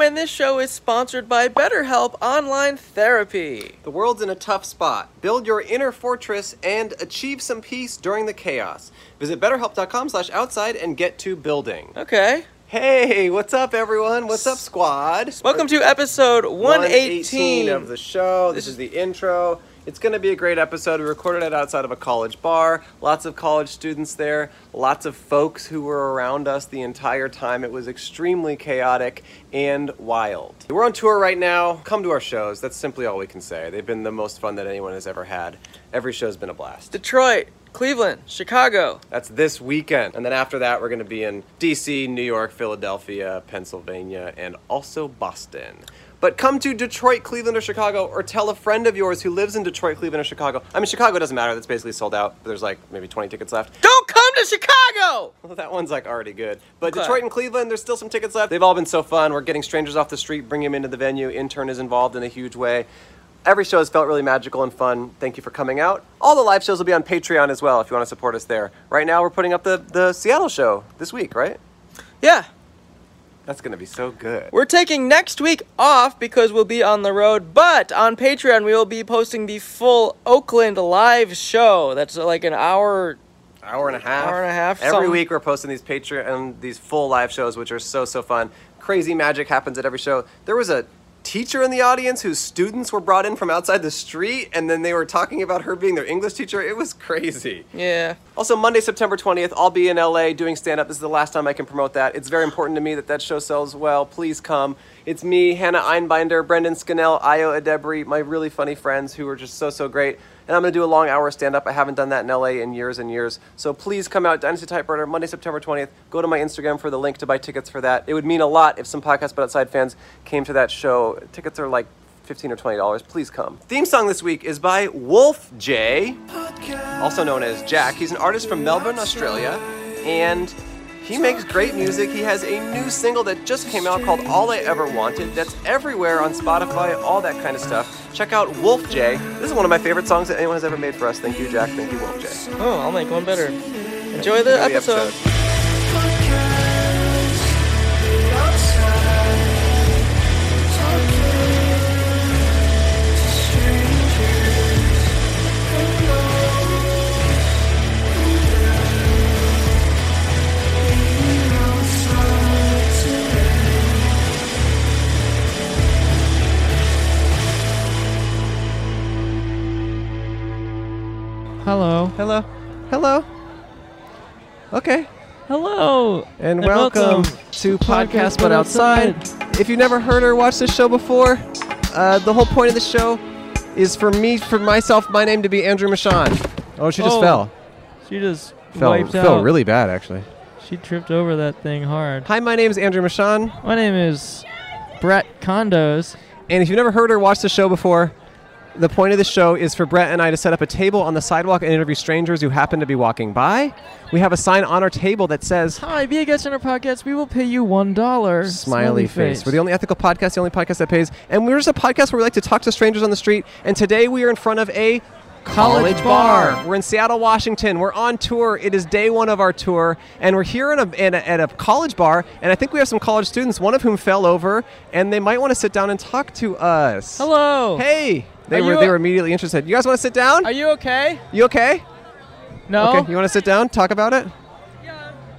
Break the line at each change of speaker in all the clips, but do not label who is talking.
and this show is sponsored by BetterHelp Online Therapy.
The world's in a tough spot. Build your inner fortress and achieve some peace during the chaos. Visit betterhelp.com slash outside and get to building.
Okay.
Hey, what's up, everyone? What's up, squad?
Welcome to episode 118
of the show. This is the intro. It's going to be a great episode. We recorded it outside of a college bar. Lots of college students there, lots of folks who were around us the entire time. It was extremely chaotic and wild. We're on tour right now. Come to our shows. That's simply all we can say. They've been the most fun that anyone has ever had. Every show's been a blast.
Detroit, Cleveland, Chicago.
That's this weekend. And then after that, we're going to be in DC, New York, Philadelphia, Pennsylvania, and also Boston. But come to Detroit, Cleveland, or Chicago, or tell a friend of yours who lives in Detroit, Cleveland, or Chicago. I mean, Chicago doesn't matter. That's basically sold out. There's like maybe 20 tickets left.
Don't come to Chicago!
Well, that one's like already good. But
Okay.
Detroit and Cleveland, there's still some tickets left. They've all been so fun. We're getting strangers off the street, bringing them into the venue. Intern is involved in a huge way. Every show has felt really magical and fun. Thank you for coming out. All the live shows will be on Patreon as well if you want to support us there. Right now, we're putting up the, the Seattle show this week, right?
Yeah,
That's going to be so good.
We're taking next week off because we'll be on the road, but on Patreon we will be posting the full Oakland live show. That's like an hour.
hour and a half.
Hour and a half,
Every
something.
week we're posting these Patreon, um, these full live shows, which are so so fun. Crazy magic happens at every show. There was a teacher in the audience whose students were brought in from outside the street, and then they were talking about her being their English teacher. It was crazy.
Yeah.
Also, Monday, September 20th, I'll be in LA doing stand up. This is the last time I can promote that. It's very important to me that that show sells well. Please come. It's me, Hannah Einbinder, Brendan Scannell, Io Adebri, my really funny friends who are just so, so great. And I'm going to do a long hour stand up. I haven't done that in LA in years and years. So please come out, Dynasty Typewriter, Monday, September 20th. Go to my Instagram for the link to buy tickets for that. It would mean a lot if some Podcast But Outside fans came to that show. Tickets are like 15 or $20. Please come. Theme song this week is by Wolf J also known as Jack. He's an artist from Melbourne, Australia, and he makes great music. He has a new single that just came out called All I Ever Wanted that's everywhere on Spotify, all that kind of stuff. Check out Wolf J. This is one of my favorite songs that anyone has ever made for us. Thank you, Jack. Thank you, Wolf J.
Oh, I'll make one better. Enjoy the
Enjoy the
episode.
Hello.
Hello. Hello. Okay.
Hello.
And, welcome, to Podcast But Outside. If you've never heard or watched this show before, uh, the whole point of the show is for me, for myself, my name to be Andrew Michon. Oh, she
just Oh. fell. She just wiped out.
bad, actually.
She tripped over that thing hard.
Hi, my name is Andrew Michon.
My name is Brett Condos.
And if you've never heard or watched the show before, the point of the show is for Brett and I to set up a table on the sidewalk and interview strangers who happen to be walking by. We have a sign on our table that says,
Hi, be a guest on our podcast. We will pay you one dollar.
Smiley face. We're the only ethical podcast, the only podcast that pays. And we're just a podcast where we like to talk to strangers on the street. And today we are in front of a college
College
bar.
bar.
We're in Seattle, Washington. We're on tour. It is day one of our tour. And we're here in a, in a, at a college bar. And I think we have some college students, one of whom fell over. And they might want to sit down and talk to us.
Hello.
Hey. They
Are
were,
you
they
a-
were immediately interested. You guys want to sit down?
Are you okay?
you okay?
No.
Okay. You want to sit down? Talk about it?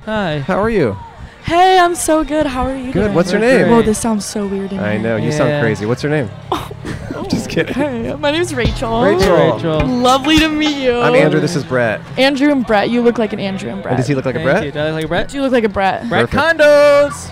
Hi.
How are you?
Hey, I'm so good. How are you
Good.
doing?
What's your
We're
name?
great.
Whoa, this sounds so weird. In
I
here.
know. You sound
Yeah.
crazy. What's your name? I'm just kidding.
Okay, my name's Rachel.
Rachel.
Hey, Rachel.
Lovely to meet you.
I'm Andrew.
oh.
This is Brett.
Andrew and Brett. You look like an Andrew and Brett.
And does he look like
Thank
a Brett?
you. Do I look like a Brett?
You look like a Brett.
Brett
Perfect.
Condos.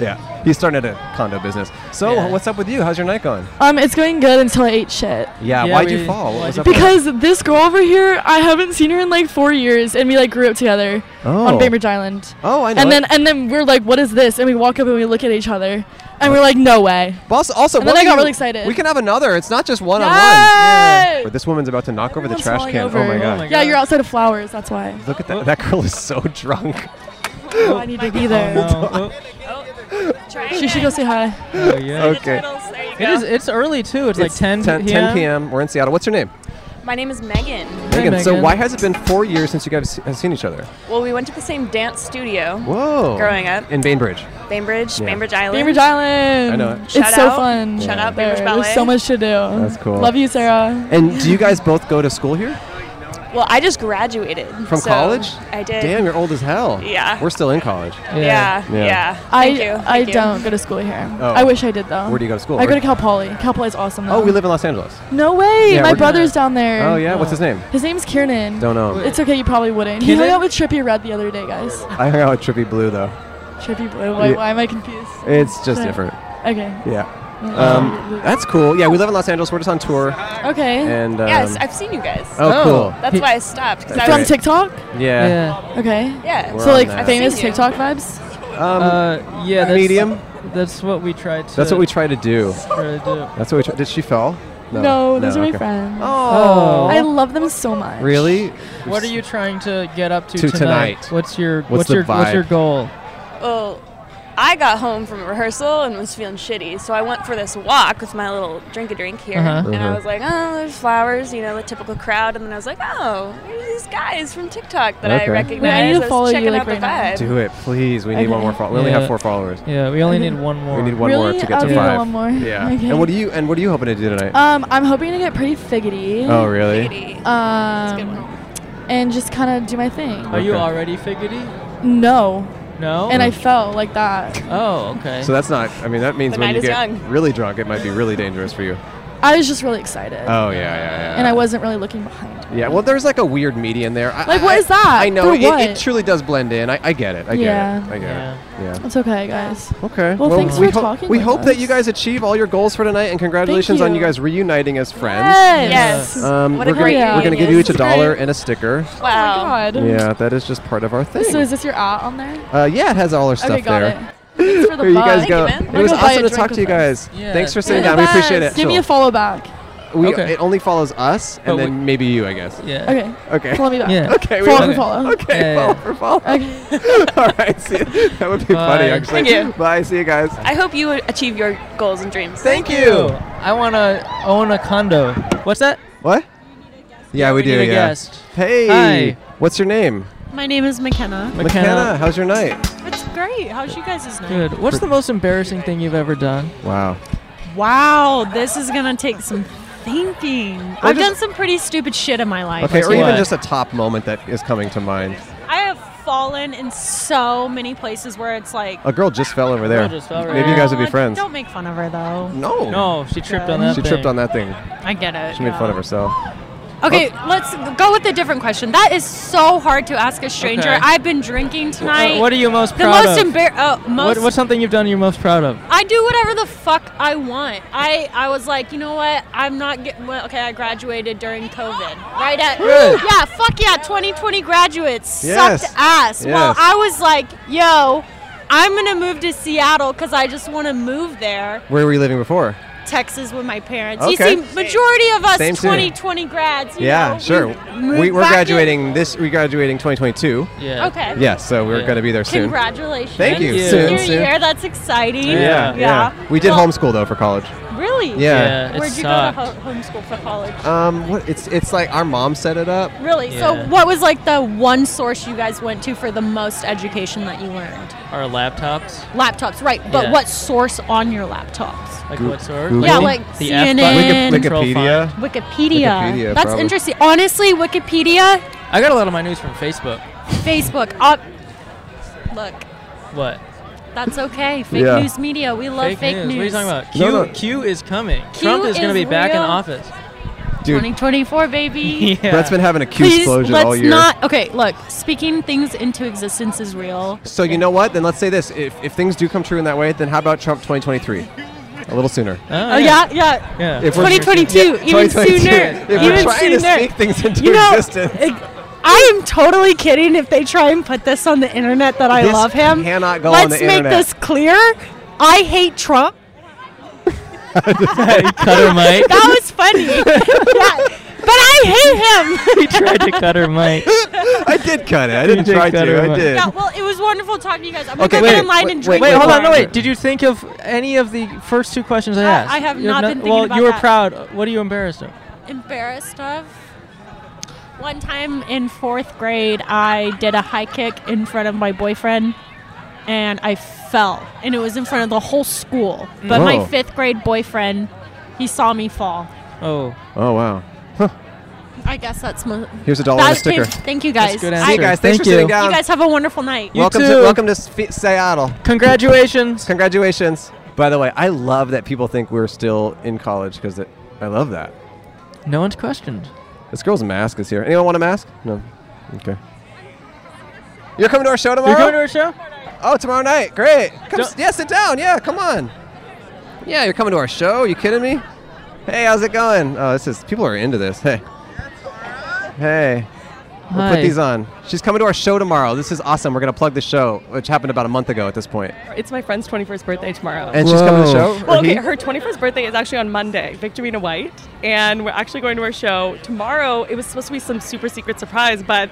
Yeah. He started a condo business. So,
Yeah.
what's up with you? How's your night going?
Um, it's going good until I ate shit.
Yeah.
Yeah,
why'd
we-
you fall? What
why'd
was
you
up with
Because this girl over here, I haven't seen her in like four years, and we like grew up together
Oh.
on Bainbridge Island.
that? Oh, I know.
and then
it.
and then we're like, what is this? And we walk up and we look at each other, and we're like, no way.
But also, Oh. also
and then
what
I
do
got
you-
really excited.
We can have another. It's not just one on
Yay!
one. This woman's about to knock over the
Everyone's
trash
falling
can.
over.
Oh my
Oh
god.
my
Yeah,
God.
you're outside of flowers. That's why.
Look at that. That girl is so drunk.
Oh, I need to be there.
No.
She should go say hi.
Oh, yeah.
Okay.
It is. It's early too. It's, like 10
10 10 p.m. We're in Seattle. What's your name?
My name is Megan.
Megan, so
Megan.
why has it been four years since you guys have seen each other?
Well, we went to the same dance studio.
Whoa.
Growing up.
In Bainbridge.
Bainbridge,
Yeah.
Bainbridge Island.
Bainbridge Island.
I know it.
It's
Shout
so
out.
fun.
Shout
Yeah.
out Bainbridge
There, There's
Ballet.
so much to do.
That's cool.
Love you, Sarah.
And do you guys both go to school here?
Well, I just graduated
From
so
college?
I did.
Damn, you're old as hell.
Yeah.
We're still in college.
Yeah,
Yeah.
yeah.
I
Thank you.
I
Thank you.
don't go to school here.
Oh.
I wish I did though.
Where do you go to school?
I go
Where-
to Cal Poly. Cal Poly's awesome. Though.
Oh, we live in Los Angeles.
No way.
Yeah,
My
we're-
brother's down there.
Oh, yeah. What's his name?
His name's Kieran.
Don't know. him.
It's okay. You probably wouldn't. He hung
Kieran?
out with Trippy Red the other day, guys.
I hung out with Trippy Blue, though.
Trippy Blue. Why,
Yeah.
why am I confused?
It's just
Yeah.
different.
Okay.
Yeah. Um, that's cool. Yeah, we live in Los Angeles. We're just on tour.
okay.
And, um,
Yes, I've seen you guys.
oh,
Oh.
cool.
That's why I stopped. 'cause I
That's
From
was,
right.
TikTok.
Yeah.
Yeah.
Okay.
Yeah.
Um, We're
So
on
like
that.
famous
I've seen you.
TikTok vibes.
Um,
Uh, yeah. That's,
medium.
That's what we tried to.
that's what we try to do.
try to do.
That's what we try. Did she fall?
those are my
okay.
friends.
Oh.
I love them so much.
Really?
What are you trying to get up to,
To
tonight?
tonight.
What's your
What's the
your what's your
vibe?
goal?
well, I got home from rehearsal and was feeling shitty, so I went for this walk with my little drink a drink here,
Uh-huh.
and
Uh-huh.
I was like, oh, there's flowers, you know, the typical crowd, and then I was like, oh, there's these guys from TikTok that
Okay.
I recognize.
Wait, I need to
was
follow you,
checking
like,
out the
right now.
vibe.
Do it, please. We need one
Okay.
more. Fo- we only have
Yeah.
four followers.
Yeah, we only
Okay.
need one more.
We need one
really?
more to get
okay,
to five.
One more.
Yeah.
Okay.
And what are you? And what are you hoping to do tonight?
Um, I'm hoping to get pretty figgity.
oh, really?
Katie. good
Um,
one.
and just kind of do my thing.
Are you
Okay.
already figgity?
No,
Oh.
No.
and I fell like that.
Oh, okay.
So that's not. I mean, that means
The
when
night
you
is
get
young.
really drunk, it might be really dangerous for you.
I was just really excited,
Oh yeah, yeah, yeah.
and I wasn't really looking behind. me.
Yeah. Well, there's like a weird median there. I,
Like,
I-
what is that?
I know
For
it, it- it
what?
truly does blend in. I, I get it. I
Yeah.
get it. I get
Yeah.
it. Yeah.
It's okay, guys.
Okay.
Well, thanks
we
for
hope-
talking
We
with
hope that you
us.
guys achieve all your goals for tonight, and congratulations on you
you.
guys reuniting as friends.
Yes.
Um,
What
we're
a great
gonna, we're gonna give you
reunion.
each a dollar and a sticker.
Wow.
Oh my god.
Yeah, that is just part of our thing.
So is this your art on there?
uh, yeah, it has all our stuff
okay, got
there.
it. Thanks for the
Here you
vibe.
guys
Thank
go.
you, man.
it
We're
was
gonna buy
awesome
a
to talk
drink
to you
with us.
guys.
Yeah.
Thanks for
You're
sitting
You're the
down. We appreciate it.
best. Give me
Sure.
a follow back.
we,
Okay.
It only follows us, and
But
then maybe you, I guess.
yeah.
Okay.
Okay.
Follow me back.
Yeah.
Okay. we
Follow
will.
for follow.
Okay.
Yeah,
follow
yeah.
for follow.
Okay.
all right. See you. That would be funny,
Bye.
actually.
Thank you.
Bye. See you guys.
I hope you achieve your goals and dreams.
Thank
Ew, I want to own a condo. What's that?
What? Yeah, we,
we
do.
need a
yeah.
guest.
Hey.
Hi.
What's your name?
My name is McKenna.
McKenna. How's your night?
It's great. How's you guys' night?
Good. What's the most embarrassing thing you've ever done?
Wow.
Wow, this is gonna take some thinking. I've
just-
done some pretty stupid shit in my life.
Okay, or even
what?
just a top moment that is coming to mind.
I have fallen in so many places where it's like
A girl just fell over there.
girl just fell over
Maybe you
there.
guys would be
"Oh,
friends.
Don't make fun of her though.
No.
No, she tripped on that.
She tripped on that thing.
I get it.
She made
yeah.
fun of herself.
Okay, let's go with a different question. That is so hard to ask a stranger.
Okay.
I've been drinking tonight.
what are you most
the
proud
most
of?
embar- uh, most
What, what's something you've done you're most proud of?
I do whatever the fuck I want. I, I was like, you know what? I'm not getting. Well, okay, I graduated during COVID. Right at.
Really?
Yeah, fuck yeah. 2020 graduates
Yes.
sucked ass.
Yes.
Well, I was like, yo, I'm going to move to Seattle because I just want to move there.
Where were you living before?
Texas with my parents. You
Okay.
see, majority of us
Same too.
2020 grads. you
yeah,
know,
sure.
moved
We, we're
back in-
graduating this. We're graduating 2022.
Yeah.
Okay.
Yes, so we're
Yeah.
going to be there soon.
Congratulations.
Thank you.
Thank
Soon,
Senior
soon.
year, that's exciting.
Yeah, yeah.
Yeah.
We did
Well,
homeschool though for college.
Really?
Yeah.
it
Where'd you
sucked.
go to ho- homeschool for college?
Um, what, it's it's like our mom set it up.
Really?
Yeah.
So, what was like the one source you guys went to for the most education that you learned?
Our laptops.
Laptops, right? But
Yeah.
what source on your laptops?
Like
Goo-
what sort?
Google?
Yeah,
the-
like
the
CNN.
F button,
Wiki-
control
Wikipedia.
find.
Wikipedia.
Wikipedia,
That's
probably.
interesting. Honestly, Wikipedia,
I got a lot of my news from Facebook.
Facebook. Op- Look,
What?
that's okay. Fake
Yeah.
news media. We love fake, news.
What are you talking about? Q,
No, no.
Q is coming.
Q
Trump is, going to
is
be back in
real.
office.
Dude,
2024, baby.
yeah.
Brett's been having a Q
Please,
explosion
let's
all year.
not. Okay, look, speaking things into existence is real.
so you know what? Then let's say this: if, if things do come true in that way, then how about Trump 2023? A little sooner.
Oh, yeah, yeah.
Yeah.
If we're-
2022,
yeah,
even
2022.
sooner,
If we're
even
trying to
sooner.
sneak things into
you know,
existence.
it- I am totally kidding if they try and put this on the internet that I
This
love him.
cannot go on
Let's
the
make
internet.
this clear. I hate Trump.
cut her mic.
That was funny. Yeah, But I hate him.
he tried to cut her mic.
I did cut it. I didn't
did
try
cut
to.
her
I
mic.
did.
yeah, well, it was wonderful talking to you guys. I'm
Okay,
gonna go
wait,
get in line
wait,
and drink.
Wait,
Wait,
hold
wait,
on. No,
wait.
wait. Did you think of any of the first two questions I
Uh,
asked?
I have
You
not been thinking
Well,
about
you were
that.
proud. What are you embarrassed of?
Embarrassed of? One time in fourth grade, I did a high kick in front of my boyfriend, and I fell, and it was in front of the whole school. But
Whoa.
my fifth grade boyfriend, he saw me fall.
Oh,
Oh wow.
I guess that's my.
Here's a dollar and a sticker.
Thank you guys.
good
I-
Hey guys, thanks
Thank
for sitting
you.
you
down.
guys have a wonderful night.
You
welcome to
too.
welcome to Sfe- Seattle.
congratulations.
Congratulations. By the way, I love that people think we're still in college because I love that.
No one's questioned.
This girl's mask is here. Anyone want a mask? No. Okay. You're coming to our show tomorrow?
You're going to our show?
oh, tomorrow night. Great. Come,
Don't-
s- yeah, sit down. Yeah, come on. Yeah, you're coming to our show. you kidding me? Hey, how's it going? Oh, this is people are into this. Hey. Hey. We'll
Hi.
put these on. She's coming to our show tomorrow. This is awesome. We're gonna plug the show, which happened about a month ago at this point.
It's my friend's 21st birthday tomorrow.
And she's coming to the
Whoa.
show. or
well, okay,
he?
her 21st birthday is actually on Monday, Victorina White, and we're actually going to her show tomorrow. It was supposed to be some super secret surprise, but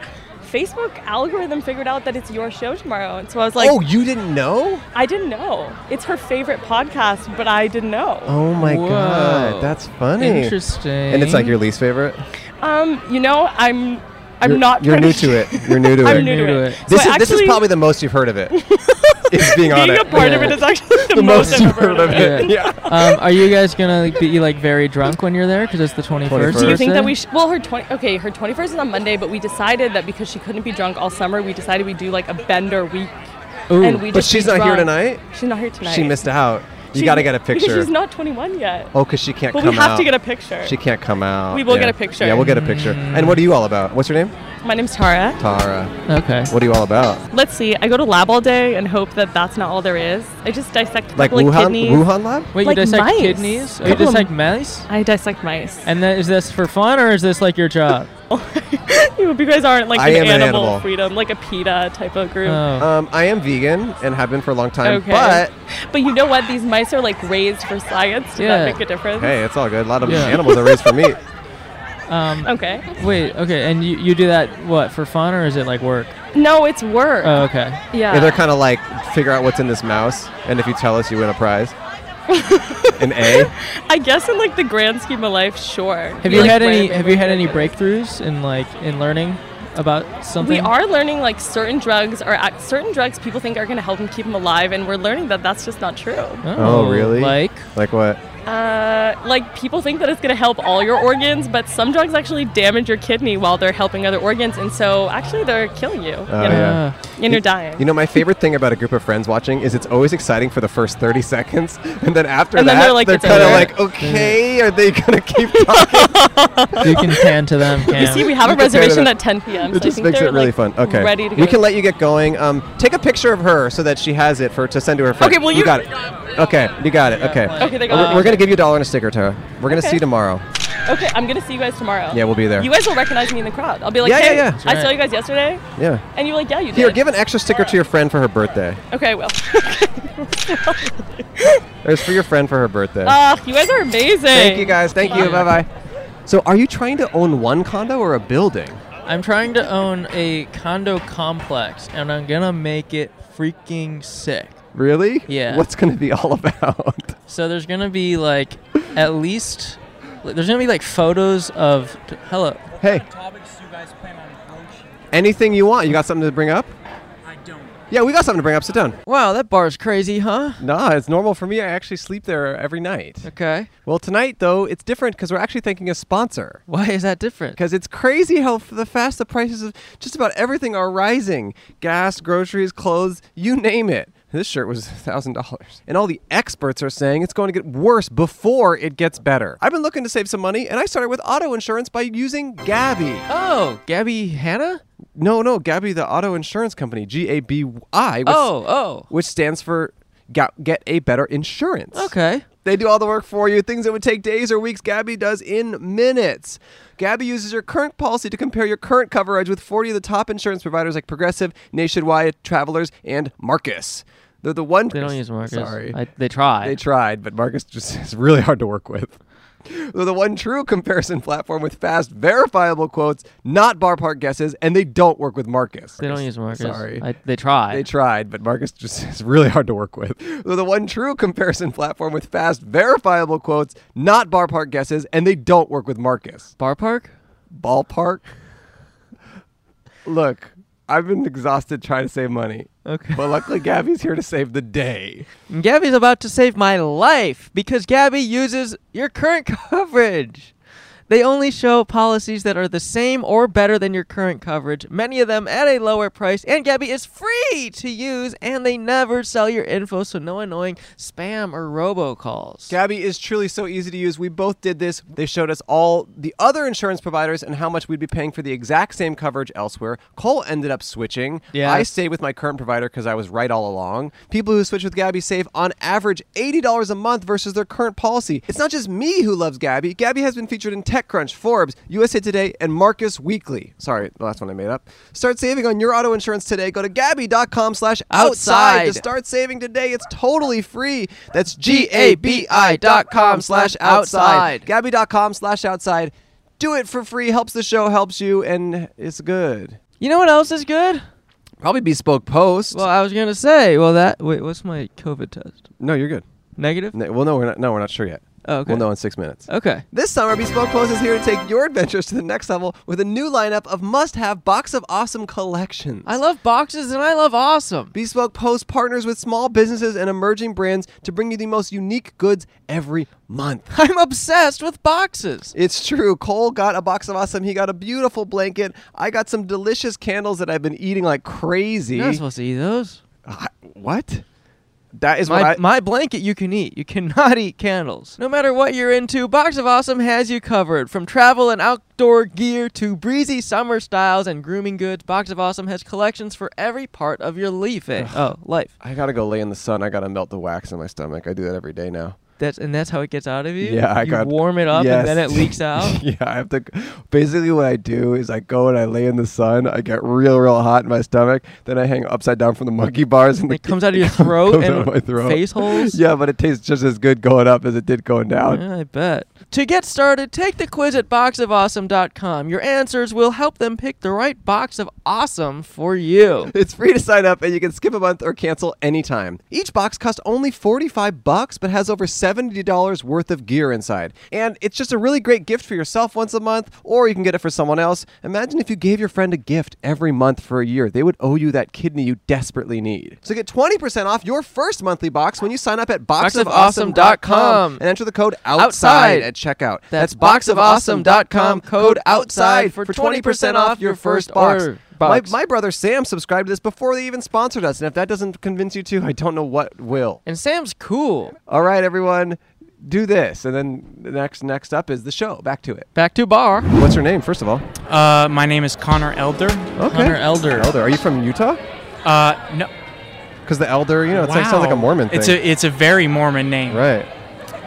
Facebook algorithm figured out that it's your show tomorrow, and so I was like,
oh, you didn't know?
I didn't know. It's her favorite podcast, but I didn't know.
Oh my
Whoa.
god, that's funny.
Interesting.
And it's like your least favorite.
Um, you know, I'm I'm
You're-
not.
You're new
pretty-
to it. You're new to
I'm
it.
new, to it.
This,
So
is,
I
this is
actually-
probably the most you've heard of it. it's being on
being
it.
a part of
Yeah.
it is actually the,
the most
most I've
you've
ever heard of it.
Yeah. um, are you guys gonna be like very drunk when you're there? Because it's the 21st.
21st.
Do you think that
birthday?
we sh- well her 20 okay her 21st is on Monday but we decided that because she couldn't be drunk all summer we decided we do like a bender week
Ooh.
and we
But
just be
she's not here
drunk.
tonight.
she's not here tonight
She missed out. You
She's-
got to get a
because
picture.
she's not 21 yet
oh, because she can't
but
come
we have
out.
to get a picture
She can't come out.
We will
yeah.
get a picture.
Yeah, we'll get a picture. And what are you all about? What's your name?
my name's Tara
Tara.
Okay.
What are you all about?
let's see I go to lab all day and hope that that's not all there is I just dissect a
Like
couple of
Wuhan?
kidneys
Wuhan lab?
Wait,
like
you dissect
mice.
kidneys? Or you
Couple of-
dissect mice?
I dissect mice
And then is this for fun or is this like your job?
you guys aren't like
I
an
am an
animal,
animal.
freedom like a PETA type of group
Oh.
Um, I am vegan and have been for a long time.
Okay.
But
But you know what? These mice are like raised for science. Does
Yeah.
that make a difference?
hey, it's all good. A lot of
Yeah.
animals are raised for meat.
Um,
Okay.
wait. Okay. And you, you do that what for fun or is it like work?
No, it's work.
Oh, okay.
yeah.
Yeah, they're kind of like figure out what's in this mouse, and if you tell us, you win a prize. An A.
I guess in like the grand scheme of life, sure.
Have
We,
you
like,
had any?
randomly
Have you had any
pick it.
breakthroughs in like in learning about something?
We are learning like certain drugs are ac- certain drugs people think are going to help them keep them alive, and we're learning that that's just not true.
Oh, really?
Like
Like what?
Uh, like people think that it's going to help all your organs, but some drugs actually damage your kidney while they're helping other organs, and so actually they're killing you.
Oh,
you know?
yeah.
Uh,
And you're dying.
You know, my favorite thing about a group of friends watching is it's always exciting for the first 30 seconds, and then after
And
that,
then they're like, "It's
kind of
over."
like, okay, are they gonna keep talking?
you can pan to them. Cam.
You see, we have a
can compare to
reservation
that.
at 10 p.m. so
it
I
just
think
makes
they're,
it really
like,
fun. Okay,
ready to
we
go.
can let you get going. Um, take a picture of her so that she has it for to send to her friend.
Okay, well,
you
you-
got it. Okay, you got it. Okay,
Okay, they
We're,
got
we're gonna give you a dollar and a sticker, Tara. We're gonna
Okay.
see you tomorrow.
Okay, I'm gonna see you guys tomorrow.
Yeah, we'll be there.
You guys will recognize me in the crowd. I'll be like,
Yeah, yeah,
hey,
yeah.
I saw you guys yesterday,
Yeah.
and you're like, yeah, you did.
Here, give an extra sticker to your friend for her birthday.
Okay, I will.
It's for your friend for her birthday.
Ah, you guys are amazing.
Thank you guys. Thank you. Bye bye. So, are you trying to own one condo or a building?
I'm trying to own a condo complex, and I'm gonna make it freaking sick.
Really?
Yeah.
What's going to be all about?
So there's gonna be like at least there's gonna be like photos of hello.
hey,
topics you guys plan on approaching?
anything you want. You got something to bring up?
I don't.
Yeah, we got something to bring up. Sit down.
Wow, that bar's crazy, huh?
Nah, it's normal for me. I actually sleep there every night.
Okay.
Well, tonight though, it's different because we're actually thanking a sponsor.
Why is that different?
Because it's crazy how f- the fast the prices of just about everything are rising. Gas, groceries, clothes, you name it. This shirt was $1,000. And all the experts are saying it's going to get worse before it gets better. I've been looking to save some money, and I started with auto insurance by using Gabby.
Oh, Gabby Hanna?
No, no, Gabby, the auto insurance company, G A B I, which,
Oh,
which stands for Ga- Get a Better Insurance.
oh. Okay.
They do all the work for you. Things that would take days or weeks, Gabby does in minutes. Gabby uses your current policy to compare your current coverage with 40 of the top insurance providers like Progressive, Nationwide, Travelers, and Marcus. They're the one.
They don't use markers.
Sorry.
I, they try.
They tried, but Marcus just is really hard to work with. They're the one true comparison platform with fast, verifiable quotes, not bar part guesses, and they don't work with Marcus.
They don't use markers.
Sorry.
I, they try.
They tried, but Marcus just is really hard to work with. They're the one true comparison platform with fast, verifiable quotes, not bar park guesses, and they don't work with Marcus.
Bar park?
Ballpark? Look, I've been exhausted trying to save money,
Okay.
but luckily Gabby's here to save the day.
And Gabby's about to save my life because Gabby uses your current coverage. They only show policies that are the same or better than your current coverage, many of them at a lower price, and Gabby is free to use, and they never sell your info, so no annoying spam or robocalls.
Gabby is truly so easy to use. We both did this. They showed us all the other insurance providers and how much we'd be paying for the exact same coverage elsewhere. Cole ended up switching.
Yes.
I stayed with my current provider because I was right all along. People who switch with Gabby save on average $80 a month versus their current policy. It's not just me who loves Gabby. Gabby has been featured in TechCrunch, Forbes, USA Today, and Marcus Weekly. Sorry, the last one I made up. Start saving on your auto insurance today. Go to gabby.com slash outside to
Outside.
start saving today. It's totally free. That's G-A-B-I dot com slash outside. Gabby.com slash outside. Do it for free. Helps the show, helps you, and it's good.
You know what else is good?
Probably bespoke post.
Well, I was gonna say, well, that wait, what's my COVID test?
no, you're good.
Negative.
No, well, no, we're not. No, we're not sure yet.
Oh, okay.
We'll know in six minutes.
Okay.
This summer, Bespoke Post is here to take your adventures to the next level with a new lineup of must-have box of awesome collections.
I love boxes and I love awesome.
Bespoke Post partners with small businesses and emerging brands to bring you the most unique goods every month.
I'm obsessed with boxes.
It's true. Cole got a box of awesome. He got a beautiful blanket. I got some delicious candles that I've been eating like crazy.
You're not supposed to eat those.
I- what? That is
My,
what I.
my blanket you can eat. You cannot eat candles. No matter what you're into, Box of Awesome has you covered. From travel and outdoor gear to breezy summer styles and grooming goods, Box of Awesome has collections for every part of your leaf. eh? Oh, life.
I gotta go lay in the sun. I gotta melt the wax in my stomach. I do that every day now.
That's and that's how it gets out of you.
Yeah, I
you
got
warm it up
Yes.
and then it leaks out.
yeah, I have to. Basically, what I do is I go and I lay in the sun. I get real, real hot in my stomach. Then I hang upside down from the monkey bars, and
And
the-
it comes out of your throat
comes
and
out of my throat.
face holes.
Yeah, but it tastes just as good going up as it did going down.
Yeah, I bet. To get started, take the quiz at boxofawesome.com. Your answers will help them pick the right box of awesome for you.
It's free to sign up and you can skip a month or cancel anytime. Each box costs only 45 bucks but has over $70 worth of gear inside. And it's just a really great gift for yourself once a month or you can get it for someone else. Imagine if you gave your friend a gift every month for a year. They would owe you that kidney you desperately need. So get 20% off your first monthly box when you sign up at boxofawesome.com
boxofawesome.com
and enter the code outside,
Outside.
at checkout.
That's boxofawesome.com,
code
code
outside
outside
for
for
20% off your first box.
order.
My,
Box.
my brother Sam subscribed to this before they even sponsored us, and if that doesn't convince you to, I don't know what will.
And Sam's cool.
All right, everyone, do this, and then the next next up is the show. Back to it.
Back to bar.
What's your name, first of all?
Uh, my name is Connor Elder.
Okay.
Hunter Elder.
Elder. Are you from Utah?
Uh, no.
Because the Elder, you know, it's like, sounds like a
wow.
Mormon thing.
It's a it's a very Mormon name.
right.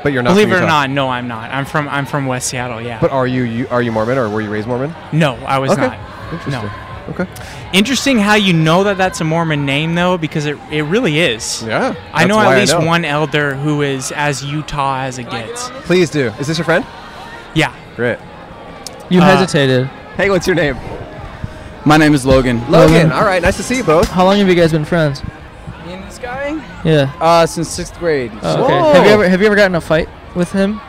But you're not.
Believe
from
it or
Utah.
not, no, I'm not. I'm from I'm from West Seattle. Yeah.
But are you, you are you Mormon or were you raised Mormon?
no, I was
okay.
not.
Interesting.
No.
Okay.
Interesting how you know that that's a Mormon name though, because it it really is.
Yeah.
I
that's
know
why
at least
know.
one elder who is as Utah as it gets.
Please do. Is this your friend?
Yeah.
Great.
You
Uh,
hesitated.
Hey, what's your name?
My name is Logan.
Logan. All right. Nice to see you both.
How long have you guys been friends?
Me and this guy?
Yeah.
Uh, since sixth grade.
Oh,
Whoa.
okay. Have you ever have you ever gotten a fight with him?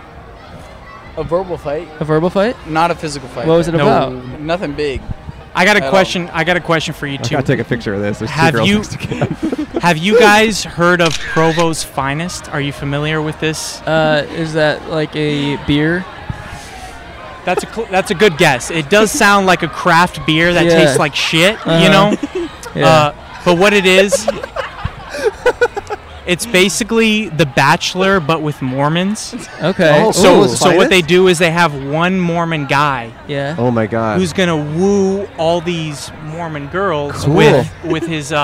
A verbal fight,
A verbal fight?
not a physical fight.
What was it
No.
about?
Nothing big.
I got a
At all.
question. I got a question for you
I
too.
gotta take a picture of this. There's
Have
two girls
you-
next to each other.
Have you guys heard of Provo's Finest? Are you familiar with this?
Uh, is that like a beer?
That's a cl- that's a good guess. It does sound like a craft beer that
Yeah.
tastes like shit, you
Uh-huh.
know.
Yeah.
Uh, but what it is, it's basically The Bachelor, but with Mormons.
okay.
oh,
So
Ooh.
so what they do is they have one Mormon guy
yeah.
Oh my god.
who's gonna woo all these Mormon girls
Cool.
with with his uh,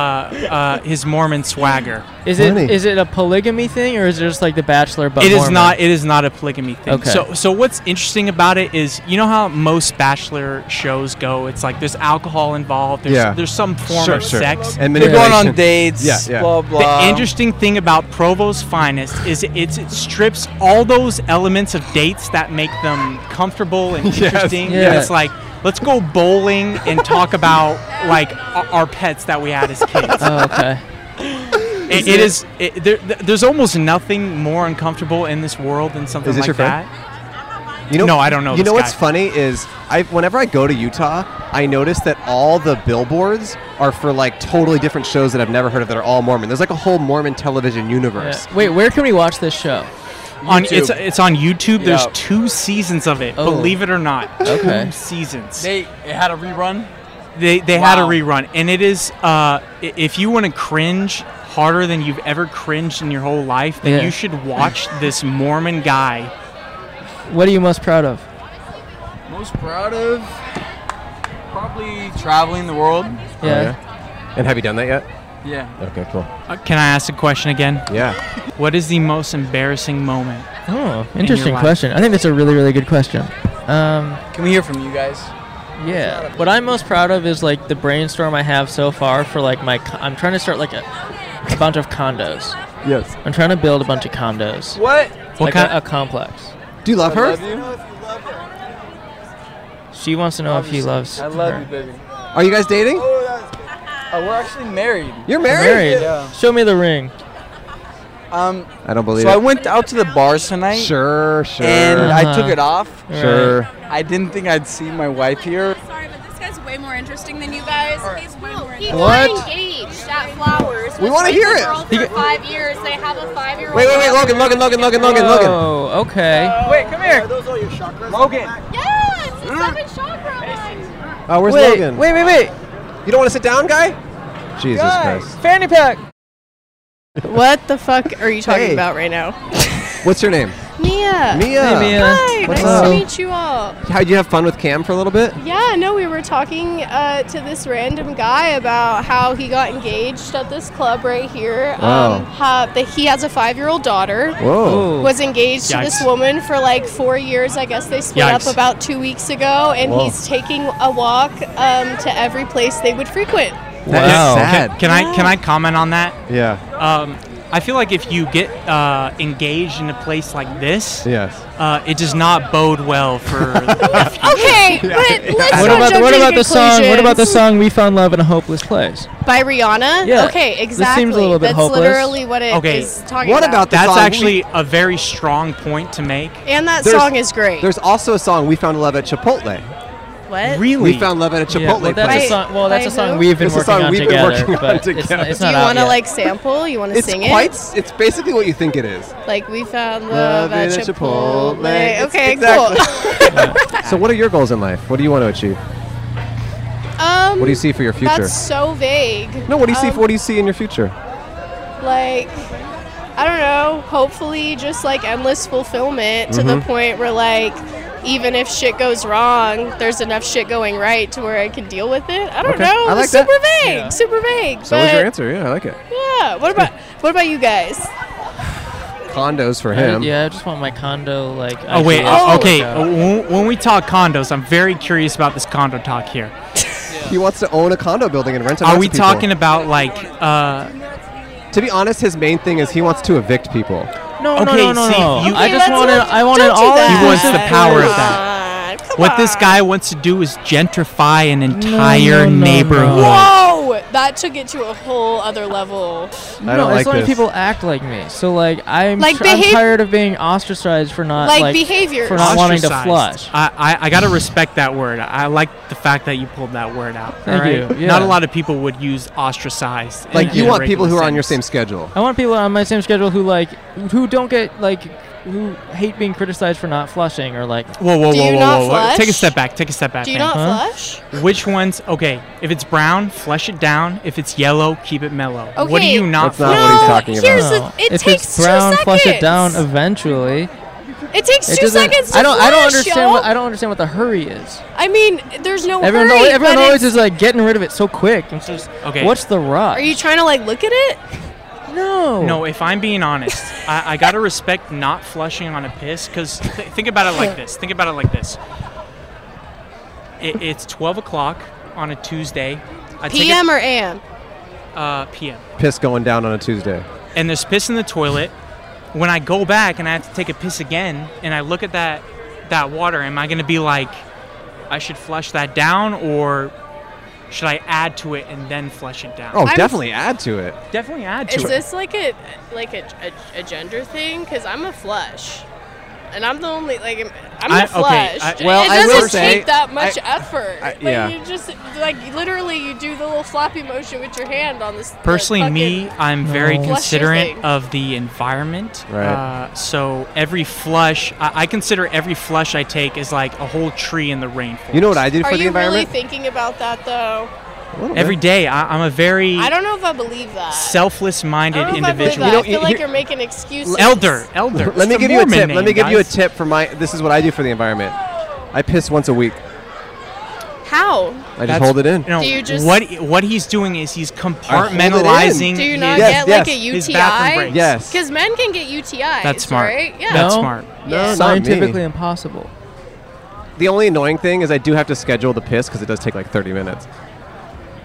uh, his Mormon swagger.
Is it
funny.
is it a polygamy thing or is it just like the Bachelor? But
It is
Mormon?
not. It is not a polygamy thing.
Okay.
So, so what's interesting about it is, you know how most bachelor shows go. It's like there's alcohol involved. There's,
Yeah.
there's some form
Sure,
of
sure.
sex.
And
They're going on
manipulation.
dates.
Yeah, yeah.
Blah blah.
the interesting thing about Provo's Finest is it, it's, it strips all those elements of dates that make them comfortable and
Yes.
interesting. And
Yeah.
It's like let's go bowling and talk about like our, our pets that we had as kids.
Oh, okay.
It, it is. It, there, th- there's almost nothing more uncomfortable in this world than something
Is this
like
your friend?
that.
You know,
No, I don't know
You
this
know what's
guy.
funny is I whenever I go to Utah, I notice that all the billboards are for like totally different shows that I've never heard of that are all Mormon. There's like a whole Mormon television universe.
Wait, where can we watch this show?
On it's
YouTube.
it's on YouTube. There's
Yeah.
two seasons of it.
Oh.
Believe it or not,
Okay.
two seasons.
They it had a rerun.
They they had a
Wow.
rerun, and it is uh, i- if you want to cringe harder than you've ever cringed in your whole life, then
Yeah.
you should watch this Mormon guy.
What are you most proud of?
Most proud of probably traveling the world.
Oh, And have you done that yet?
Yeah.
Okay, cool.
Uh, can I ask a question again?
Yeah.
What is the most embarrassing moment?
Oh, interesting
life.
question. I think that's a really, really good question. Um,
Can we hear from you guys?
yeah. What I'm most proud of is like the brainstorm I have so far for like my. Con- I'm trying to start like a, a bunch of condos.
Yes.
I'm trying to build a bunch of condos.
What?
What
like a,
kind-
a complex.
Do you love her?
She wants to know if he loves.
I love
her.
you, baby.
Are you guys dating?
Oh, Uh, we're actually married.
You're married?
Married.
Yeah.
Show me the ring.
Um,
I don't believe
so I
it.
went out to the bars tonight,
sure, sure.
and I took
Uh-huh.
it off.
sure.
I didn't think I'd see my wife here.
Sorry, but this guy's way more interesting than you guys. He's way more interesting.
What?
engaged at Flowers.
We wanna hear it.
For five years, they have a five-year-old.
Wait, wait, wait, Logan, Logan, Logan, Logan, Logan, Logan.
Oh, okay.
Wait, come here. Logan.
Yes, the seven chakra line.
Oh, where's
wait,
Logan?
wait, wait, wait.
You don't want to sit down, guy? Jesus Christ.
Fanny pack.
What the fuck are you
talking Hey. about
right now?
What's your name?
Mia.
Mia.
Hi,
What's
nice
up?
to meet you all.
How'd you have fun with Cam for a little bit?
Yeah, no, we were talking uh, to this random guy about how he got engaged at this club right here.
Wow.
Um, how, that he has a five-year-old daughter.
Whoa.
was engaged to this
Yikes.
woman for like four years. I guess they split
Yikes.
up about two weeks ago, and
Whoa.
he's taking a walk um, to every place they would frequent.
That is
Wow.
sad.
Can, can I can I comment on that?
yeah.
Um, I feel like if you get uh, engaged in a place like this,
Yes.
uh, it does not bode well for.
Okay, but let's not
What about the,
jump
what
to
about the song? What about the
conclusions.
song "We Found Love in a Hopeless Place"?
by Rihanna?
Yeah,
Okay,
this seems a
exactly.
little bit
That's
hopeless.
literally what it is
Okay,
talking
What
about.
about the
That's
song we-
actually a very strong point to make.
And that
There's-
song is great.
There's also a song we found love at Chipotle.
What?
Really,
We found love at a
yeah,
Chipotle
well, that's
place.
a song. Well, that's a
By
song
who?
we've been
It's a
working
song
on
we've been
together.
working on
but It's
together.
not, it's
Do
not
you
out
want to
yet.
like sample? You want to
It's
sing
quite.
it?
s- It's basically what you think it is.
Like we found love,
Love
at
in a
Chipotle.
Chipotle. It's-
Okay,
exactly. So, what are your goals in life? What do you want to achieve?
cool. um,
What do you see for your future?
That's so vague.
no, what do you see?
Um,
What do you see in your future?
like I don't know, hopefully just like endless fulfillment to
Mm-hmm.
the point where like even if shit goes wrong, there's enough shit going right to where I can deal with it. I don't
Okay,
know.
I like
super
that.
vague. Super vague.
So, was
but
your answer? Yeah, I like it.
yeah. What about what about you guys?
Condos for
I-
him.
yeah, I just want my condo like.
Oh wait, uh, okay.
actually-
uh, When, when we talk condos, I'm very curious about this condo talk here.
He wants to own a condo building and rent it out
Are
to
we
people.
talking about like? Uh,
To be honest, his main thing is he wants to evict people. Oh,
No, no,
okay,
no, no,
see,
no.
you-
I
Okay,
just
let's
want an,
not-
I want an
don't do
all.
that.
He wants the power of
Come
that.
on, come
what this
on.
guy wants to do is gentrify an entire
no, no.
neighborhood.
Whoa! That took it to a whole other level.
I don't
no,
like
as long
this.
as people act like me. So like, I'm,
Like
tr- I'm
behave-
tired of being ostracized for not
Like
like
behaviors.
for not wanting to
Ostracized.
flush.
I, I, I gotta respect that word. I like the fact that you pulled that word out.
Thank
alright?
you,
Not a
yeah.
lot of people would use ostracized. in-
Like, you
in a
want people
regular
who are on your same
sentence.
schedule.
I want people on my same schedule who like who don't get like who hate being criticized for not flushing or like
Whoa, whoa,
Do
whoa,
you
whoa,
not
whoa, whoa! Take a
flush?
step back. Take a step back.
Do you
man.
not
Huh?
flush?
Which ones? Okay, if it's brown, flush it down. If it's yellow, keep it mellow. What do
Okay.
you not
That's not
flush?
what he's
No,
talking about.
here's- There's a-
no.
it
if
takes
it's
two
brown, flush it
seconds.
down eventually.
It takes
It
two
doesn't-
seconds to
I don't. I don't
flush,
understand.
y'all.
What, I don't understand what the hurry is.
I mean, there's no
Everyone,
hurry.
always, everyone
but
always
it's-
is like getting rid of it so quick. It's just,
Okay.
What's the rush?
Are you trying to like look at it?
no.
No, if I'm being honest, I, I gotta respect not flushing on a piss because th- think about it like this. Think about it like this. It, it's 12 o'clock on a Tuesday. I take
PM or AM?
A, uh, PM.
Piss going down on a Tuesday.
And there's piss in the toilet. When I go back and I have to take a piss again, and I look at that that water, am I gonna be like, I should flush that down, or should I add to it and then flush it down?
Oh,
I'm-
definitely add to it.
definitely add to
Is
it.
this like a like a, a, a gender thing? Because I'm a flush, and I'm the only like. am- I'm gonna
I- okay,
flush.
I- well,
it
I
doesn't
will
take
say-
that much
I-
effort.
I-
like
yeah.
you just like literally you do the little floppy motion with your hand on this. the
Personally, me,
fucking-
I'm very
Flush your
considerate
thing.
of the environment.
Right.
Uh, so every flush, I, I consider every flush I take is like a whole tree in the rainforest.
You know what I did
Are
for the
you really
environment?
thinking about that though?
Every day, I, I'm a very
I don't know if I believe that. I
selfless-minded
don't know if I believe
individual.
that. I feel like you're making excuses.
elder, elder.
Let me
It's the
give you a
Mormon
tip. Let me
name,
give you a
guys.
tip for my. This is what I do for the environment. I piss once a week.
How?
I just hold it in.
No,
Do you just-
what what he's doing is he's
hold it in.
compartmentalizing.
Do you not
his-
get like a
his
UTI?
bathroom breaks.
Because men can get UTIs.
That's smart.
Right? Yeah.
That's smart.
No,
Scientifically
not me.
impossible.
The only annoying thing is I do have to schedule the piss because it does take like 30 minutes.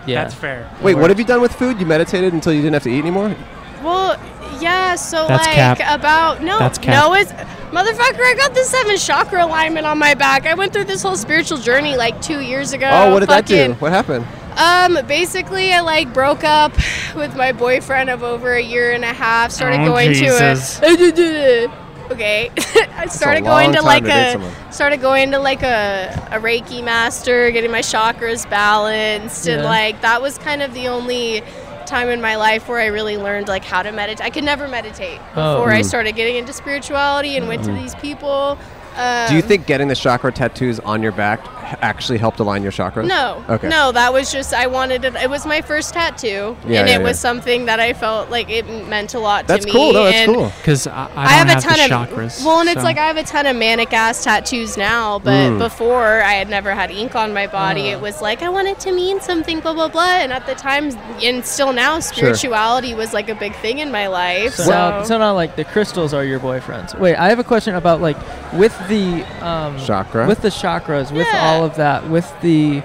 Yeah.
That's fair.
Wait, what have you done with food? You meditated until you didn't have to eat anymore?
Well, yeah. So
That's
like
cap.
about no,
That's cap.
no, it's motherfucker. I got the seven chakra alignment on my back. I went through this whole spiritual journey like two years ago.
oh, what did that do?
Fucking-
What happened?
Um, basically, I like broke up with my boyfriend of over a year and a half. Started
Oh,
going
Jesus.
to a. Okay, I started going
long
to
time
like
to date
a
someone.
started going to like a, a Reiki master, getting my chakras balanced, and
Yeah.
like that was kind of the only time in my life where I really learned like how to meditate. I could never meditate
Oh.
before I
Mm.
started getting into spirituality and went to
Mm.
these people. Um,
do you think getting the chakra tattoos on your back h- actually helped align your chakras?
no.
Okay.
No, that was just I wanted it. It was my first tattoo,
Yeah,
and
yeah,
it was
yeah.
something that I felt like it m- meant a lot
That's
to me.
cool, though, that's
and
cool. 'Cause I- I don't have the chakras,
Well, and it's
so-
like I have a ton of manic ass tattoos now, but
Mm.
before I had never had ink on my body.
Uh.
It was like I want it to mean something, blah blah blah. And at the time, and still now, spirituality was like a big thing in my life.
So,
So,
now, so now, like the crystals are your boyfriends. Wait, I have a question about like with the um,
Chakra?
with the chakras, with all of that, with the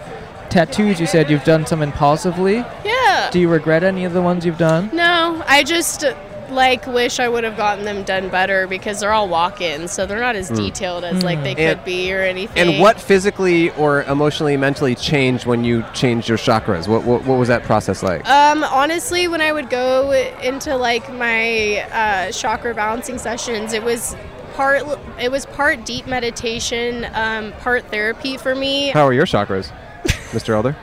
tattoos. You said you've done some impulsively.
Yeah.
Do you regret any of the ones you've done?
no, I just uh, like wish I would have gotten them done better because they're all walk-ins, so they're not as
Mm.
detailed as like they
And-
could be or anything.
And what physically or emotionally, mentally changed when you changed your chakras? What, what, what was that process like?
Um, honestly, when I would go into like my uh, chakra balancing sessions, it was part it was part deep meditation, um, part therapy for me.
How are your chakras, Mr. Elder?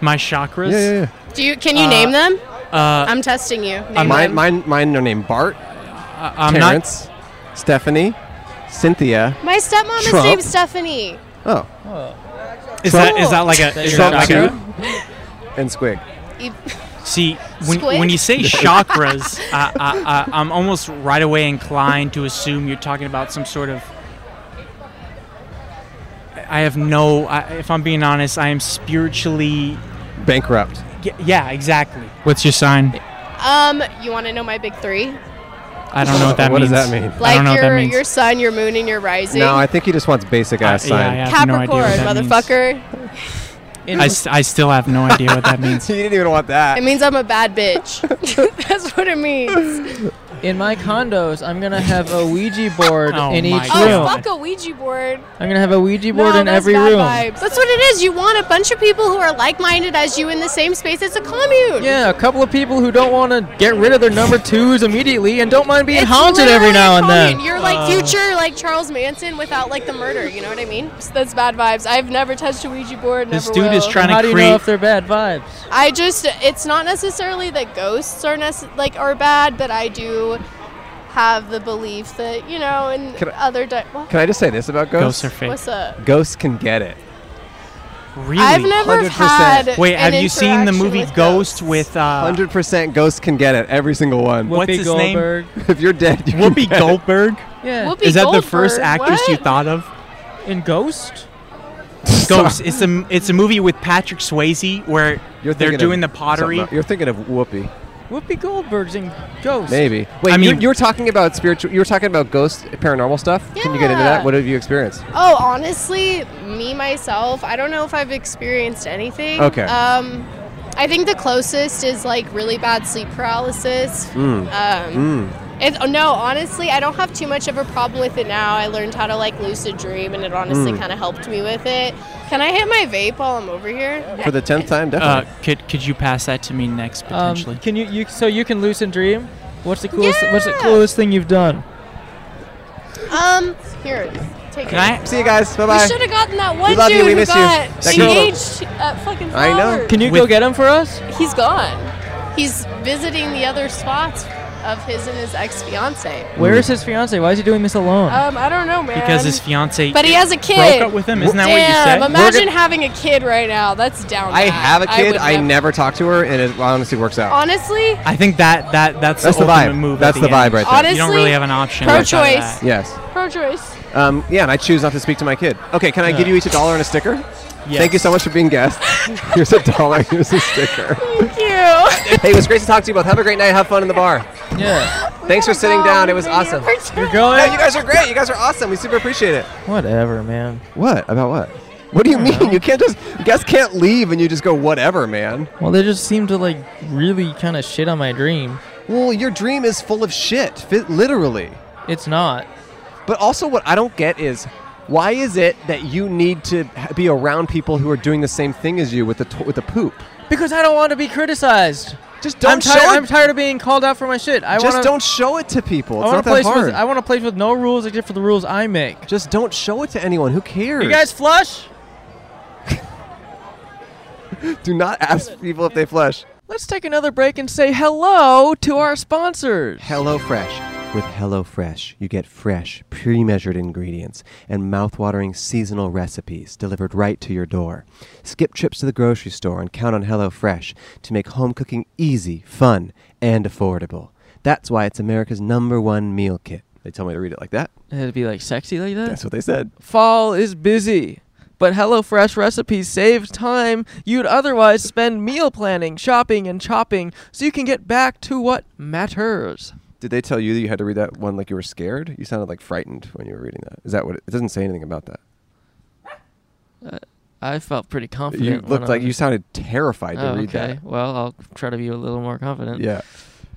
My chakras.
Yeah, yeah, yeah.
Do you can you
Uh,
name them?
uh,
I'm testing you. Name
mine,
them.
mine, mine are named Bart,
Uh, I'm not-
Terrence, Stephanie, Cynthia.
My stepmom is
Trump.
named Stephanie.
Oh.
Is
Trump-
that- is that like a- That is your that chakra?
and Squig.
See, when,
Squid?
when you say chakras, I, I, I, I'm almost right away inclined to assume you're talking about some sort of. I have no. I, if I'm being honest, I am spiritually
bankrupt.
Yeah, exactly. What's your sign?
Um, you want to know my big three?
I don't know what that
What does
means.
that mean?
I
Like
don't know what
your
that means.
your sun, your moon, and your rising.
No, I think he just wants basic ass
Uh, yeah,
sign.
yeah. I have no idea
Capricorn,
what that means.
motherfucker.
I, st- I still have no idea what that means.
you didn't even want that.
It means I'm a bad bitch. That's what it means.
In my condos, I'm gonna have a Ouija board
Oh
in
my
each
Oh,
room.
fuck a Ouija board.
I'm gonna have a Ouija board
No,
in
that's
every
bad
room.
vibes. That's what it is. You want a bunch of people who are like-minded as you in the same space. It's a commune.
Yeah, a couple of people who don't want to get rid of their number twos immediately and don't mind being
It's
haunted
literally
every
a
now and
commune.
then.
You're like future, like Charles Manson, without like the murder. You know what I mean? So that's bad vibes. I've never touched a Ouija board.
This
never
dude is
will.
trying to How do you know create- if they're bad vibes?
I just. It's not necessarily that ghosts are nece- like are bad, but I do have the belief that you know, in
Can I-
other. Di- what?
Can I just say this about ghosts?
Ghosts are fake.
What's up?
Ghosts can get it.
Really?
I've never 100%. had
Wait,
an
have you seen the movie Ghost with uh,
100% ghosts can get it. Every single one.
What's Whoopi his name? Goldberg.
if you're dead, you
Whoopi Goldberg?
Yeah.
Whoopi
Is that the first
Goldberg,
actress you
what?
thought of?
In Ghost?
Ghost. It's a it's a movie with Patrick Swayze where they're doing the pottery.
You're thinking of Whoopi.
Whoopi Goldberg's in Ghost.
Maybe.
I
Wait, you-
mean-
you were talking about spiritual. You were talking about ghost paranormal stuff. Can you get into that?
Yeah.
What have you experienced?
Oh, honestly, me myself, I don't know if I've experienced anything.
Okay.
Um, I think the closest is like really bad sleep paralysis.
Mm.
Um, it- oh, no, honestly, I don't have too much of a problem with it now. I learned how to like lucid dream, and it honestly
Mm.
kind of helped me with it. Can I hit my vape while I'm over here?
For the tenth time,
Uh,
definitely.
could could you pass that to me next
Um,
potentially?
can you, you so you can lucid dream? What's the coolest What's the coolest thing you've done?
Um, here. it is. Take
Can I-
See you guys. Bye
We
bye.
should have gotten that one
We love
dude
you. We
who
miss you.
got
Thank you.
engaged at fucking
I know.
Flowers.
Can you go With-
get him for us?
He's gone. He's visiting the other spots of his and his ex fiance.
Where is his fiance? Why is he doing this alone?
Um, I don't know, man.
Because his fiance
But he has a kid.
broke up with him. Isn't that what you said?
Damn, imagine having a kid right now. That's down.
I have a kid.
would
I,
never-
never talk to her, and it honestly works out.
Honestly,
I think that that that's,
That's
the,
the
ultimate
vibe.
move.
That's
at the,
the vibe
end.
right there.
you don't really
Honestly,
have an option.
pro-choice.
outside of that.
Yes.
pro choice.
Um, yeah, and I choose not to speak to my kid. Okay, can I give you each a dollar and a sticker?
Yes.
Thank you so much for being guest. here's a dollar. Here's a sticker.
Thank
hey, it was great to talk to you both. Have a great night. Have fun in the bar.
Yeah.
Thanks for sitting down. It was awesome.
You're
going?
No, you guys are great. You guys are awesome. We super appreciate it.
Whatever, man.
What about what? What do you mean? You can't just guests can't leave and you just go whatever, man.
Well, they just seem to like really kind of shit on my dream.
Well, your dream is full of shit, fit, literally.
It's not.
But also, what I don't get is why is it that you need to h- be around people who are doing the same thing as you with the to- with the poop?
Because I don't want to be criticized.
Just don't
I'm
show
tired.
it.
I'm tired of being called out for my shit. I
just
wanna,
don't show it to people.
I
It's
want a
not that
place
hard.
with. I want a place with no rules except for the rules I make.
just don't show it to anyone. Who cares?
You guys flush?
do not ask people if they flush.
Let's take another break and say hello to our sponsors.
Hello Fresh. With HelloFresh, you get fresh, pre measured ingredients and mouth-watering seasonal recipes delivered right to your door. Skip trips to the grocery store and count on HelloFresh to make home cooking easy, fun, and affordable. That's why it's America's number one meal kit. They tell me to read it like that.
It'd be like sexy like that.
That's what they said.
Fall is busy, but HelloFresh recipes save time you'd otherwise spend meal planning, shopping, and chopping so you can get back to what matters.
Did they tell you that you had to read that one like you were scared? You sounded like frightened when you were reading that. Is that what it, it doesn't say anything about that?
I felt pretty confident.
You
when
looked
I
like
was-
you sounded terrified to
Oh,
read
okay.
that.
Well, I'll try to be a little more confident.
Yeah.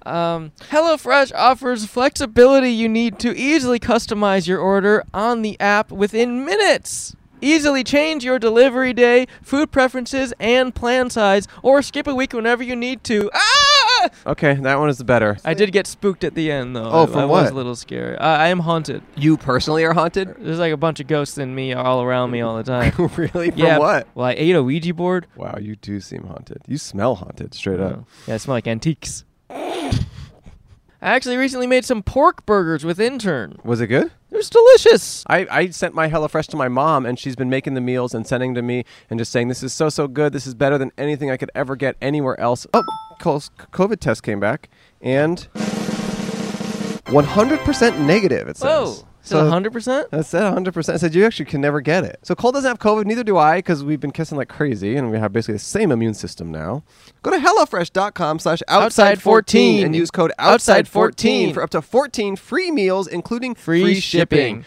Um, HelloFresh offers flexibility you need to easily customize your order on the app within minutes. Easily change your delivery day, food preferences, and plan size, or skip a week whenever you need to. Ah!
Okay, that one is the better.
I did get spooked at the end, though.
Oh,
I-
from
I was
what?
a little scary. I, I am haunted.
You personally are haunted?
There's like a bunch of ghosts in me all around me all the time.
really? From
yeah.
what?
Well, I ate a Ouija board.
Wow, you do seem haunted. You smell haunted straight up.
Yeah, I smell like antiques. I actually recently made some pork burgers with intern.
Was it good?
It was delicious.
I, I sent my HelloFresh to my mom, and she's been making the meals and sending to me and just saying, This is so, so good. This is better than anything I could ever get anywhere else. Oh, Cole's c- COVID test came back, and 100% negative, it says.
Whoa. Is it 100%?
I said 100%. I said, you actually can never get it. So Cole doesn't have COVID, neither do I, because we've been kissing like crazy, and we have basically the same immune system now. Go to HelloFresh.com slash Outside14 and use code Outside14 for up to 14 free meals, including
Free
free,
shipping.
shipping.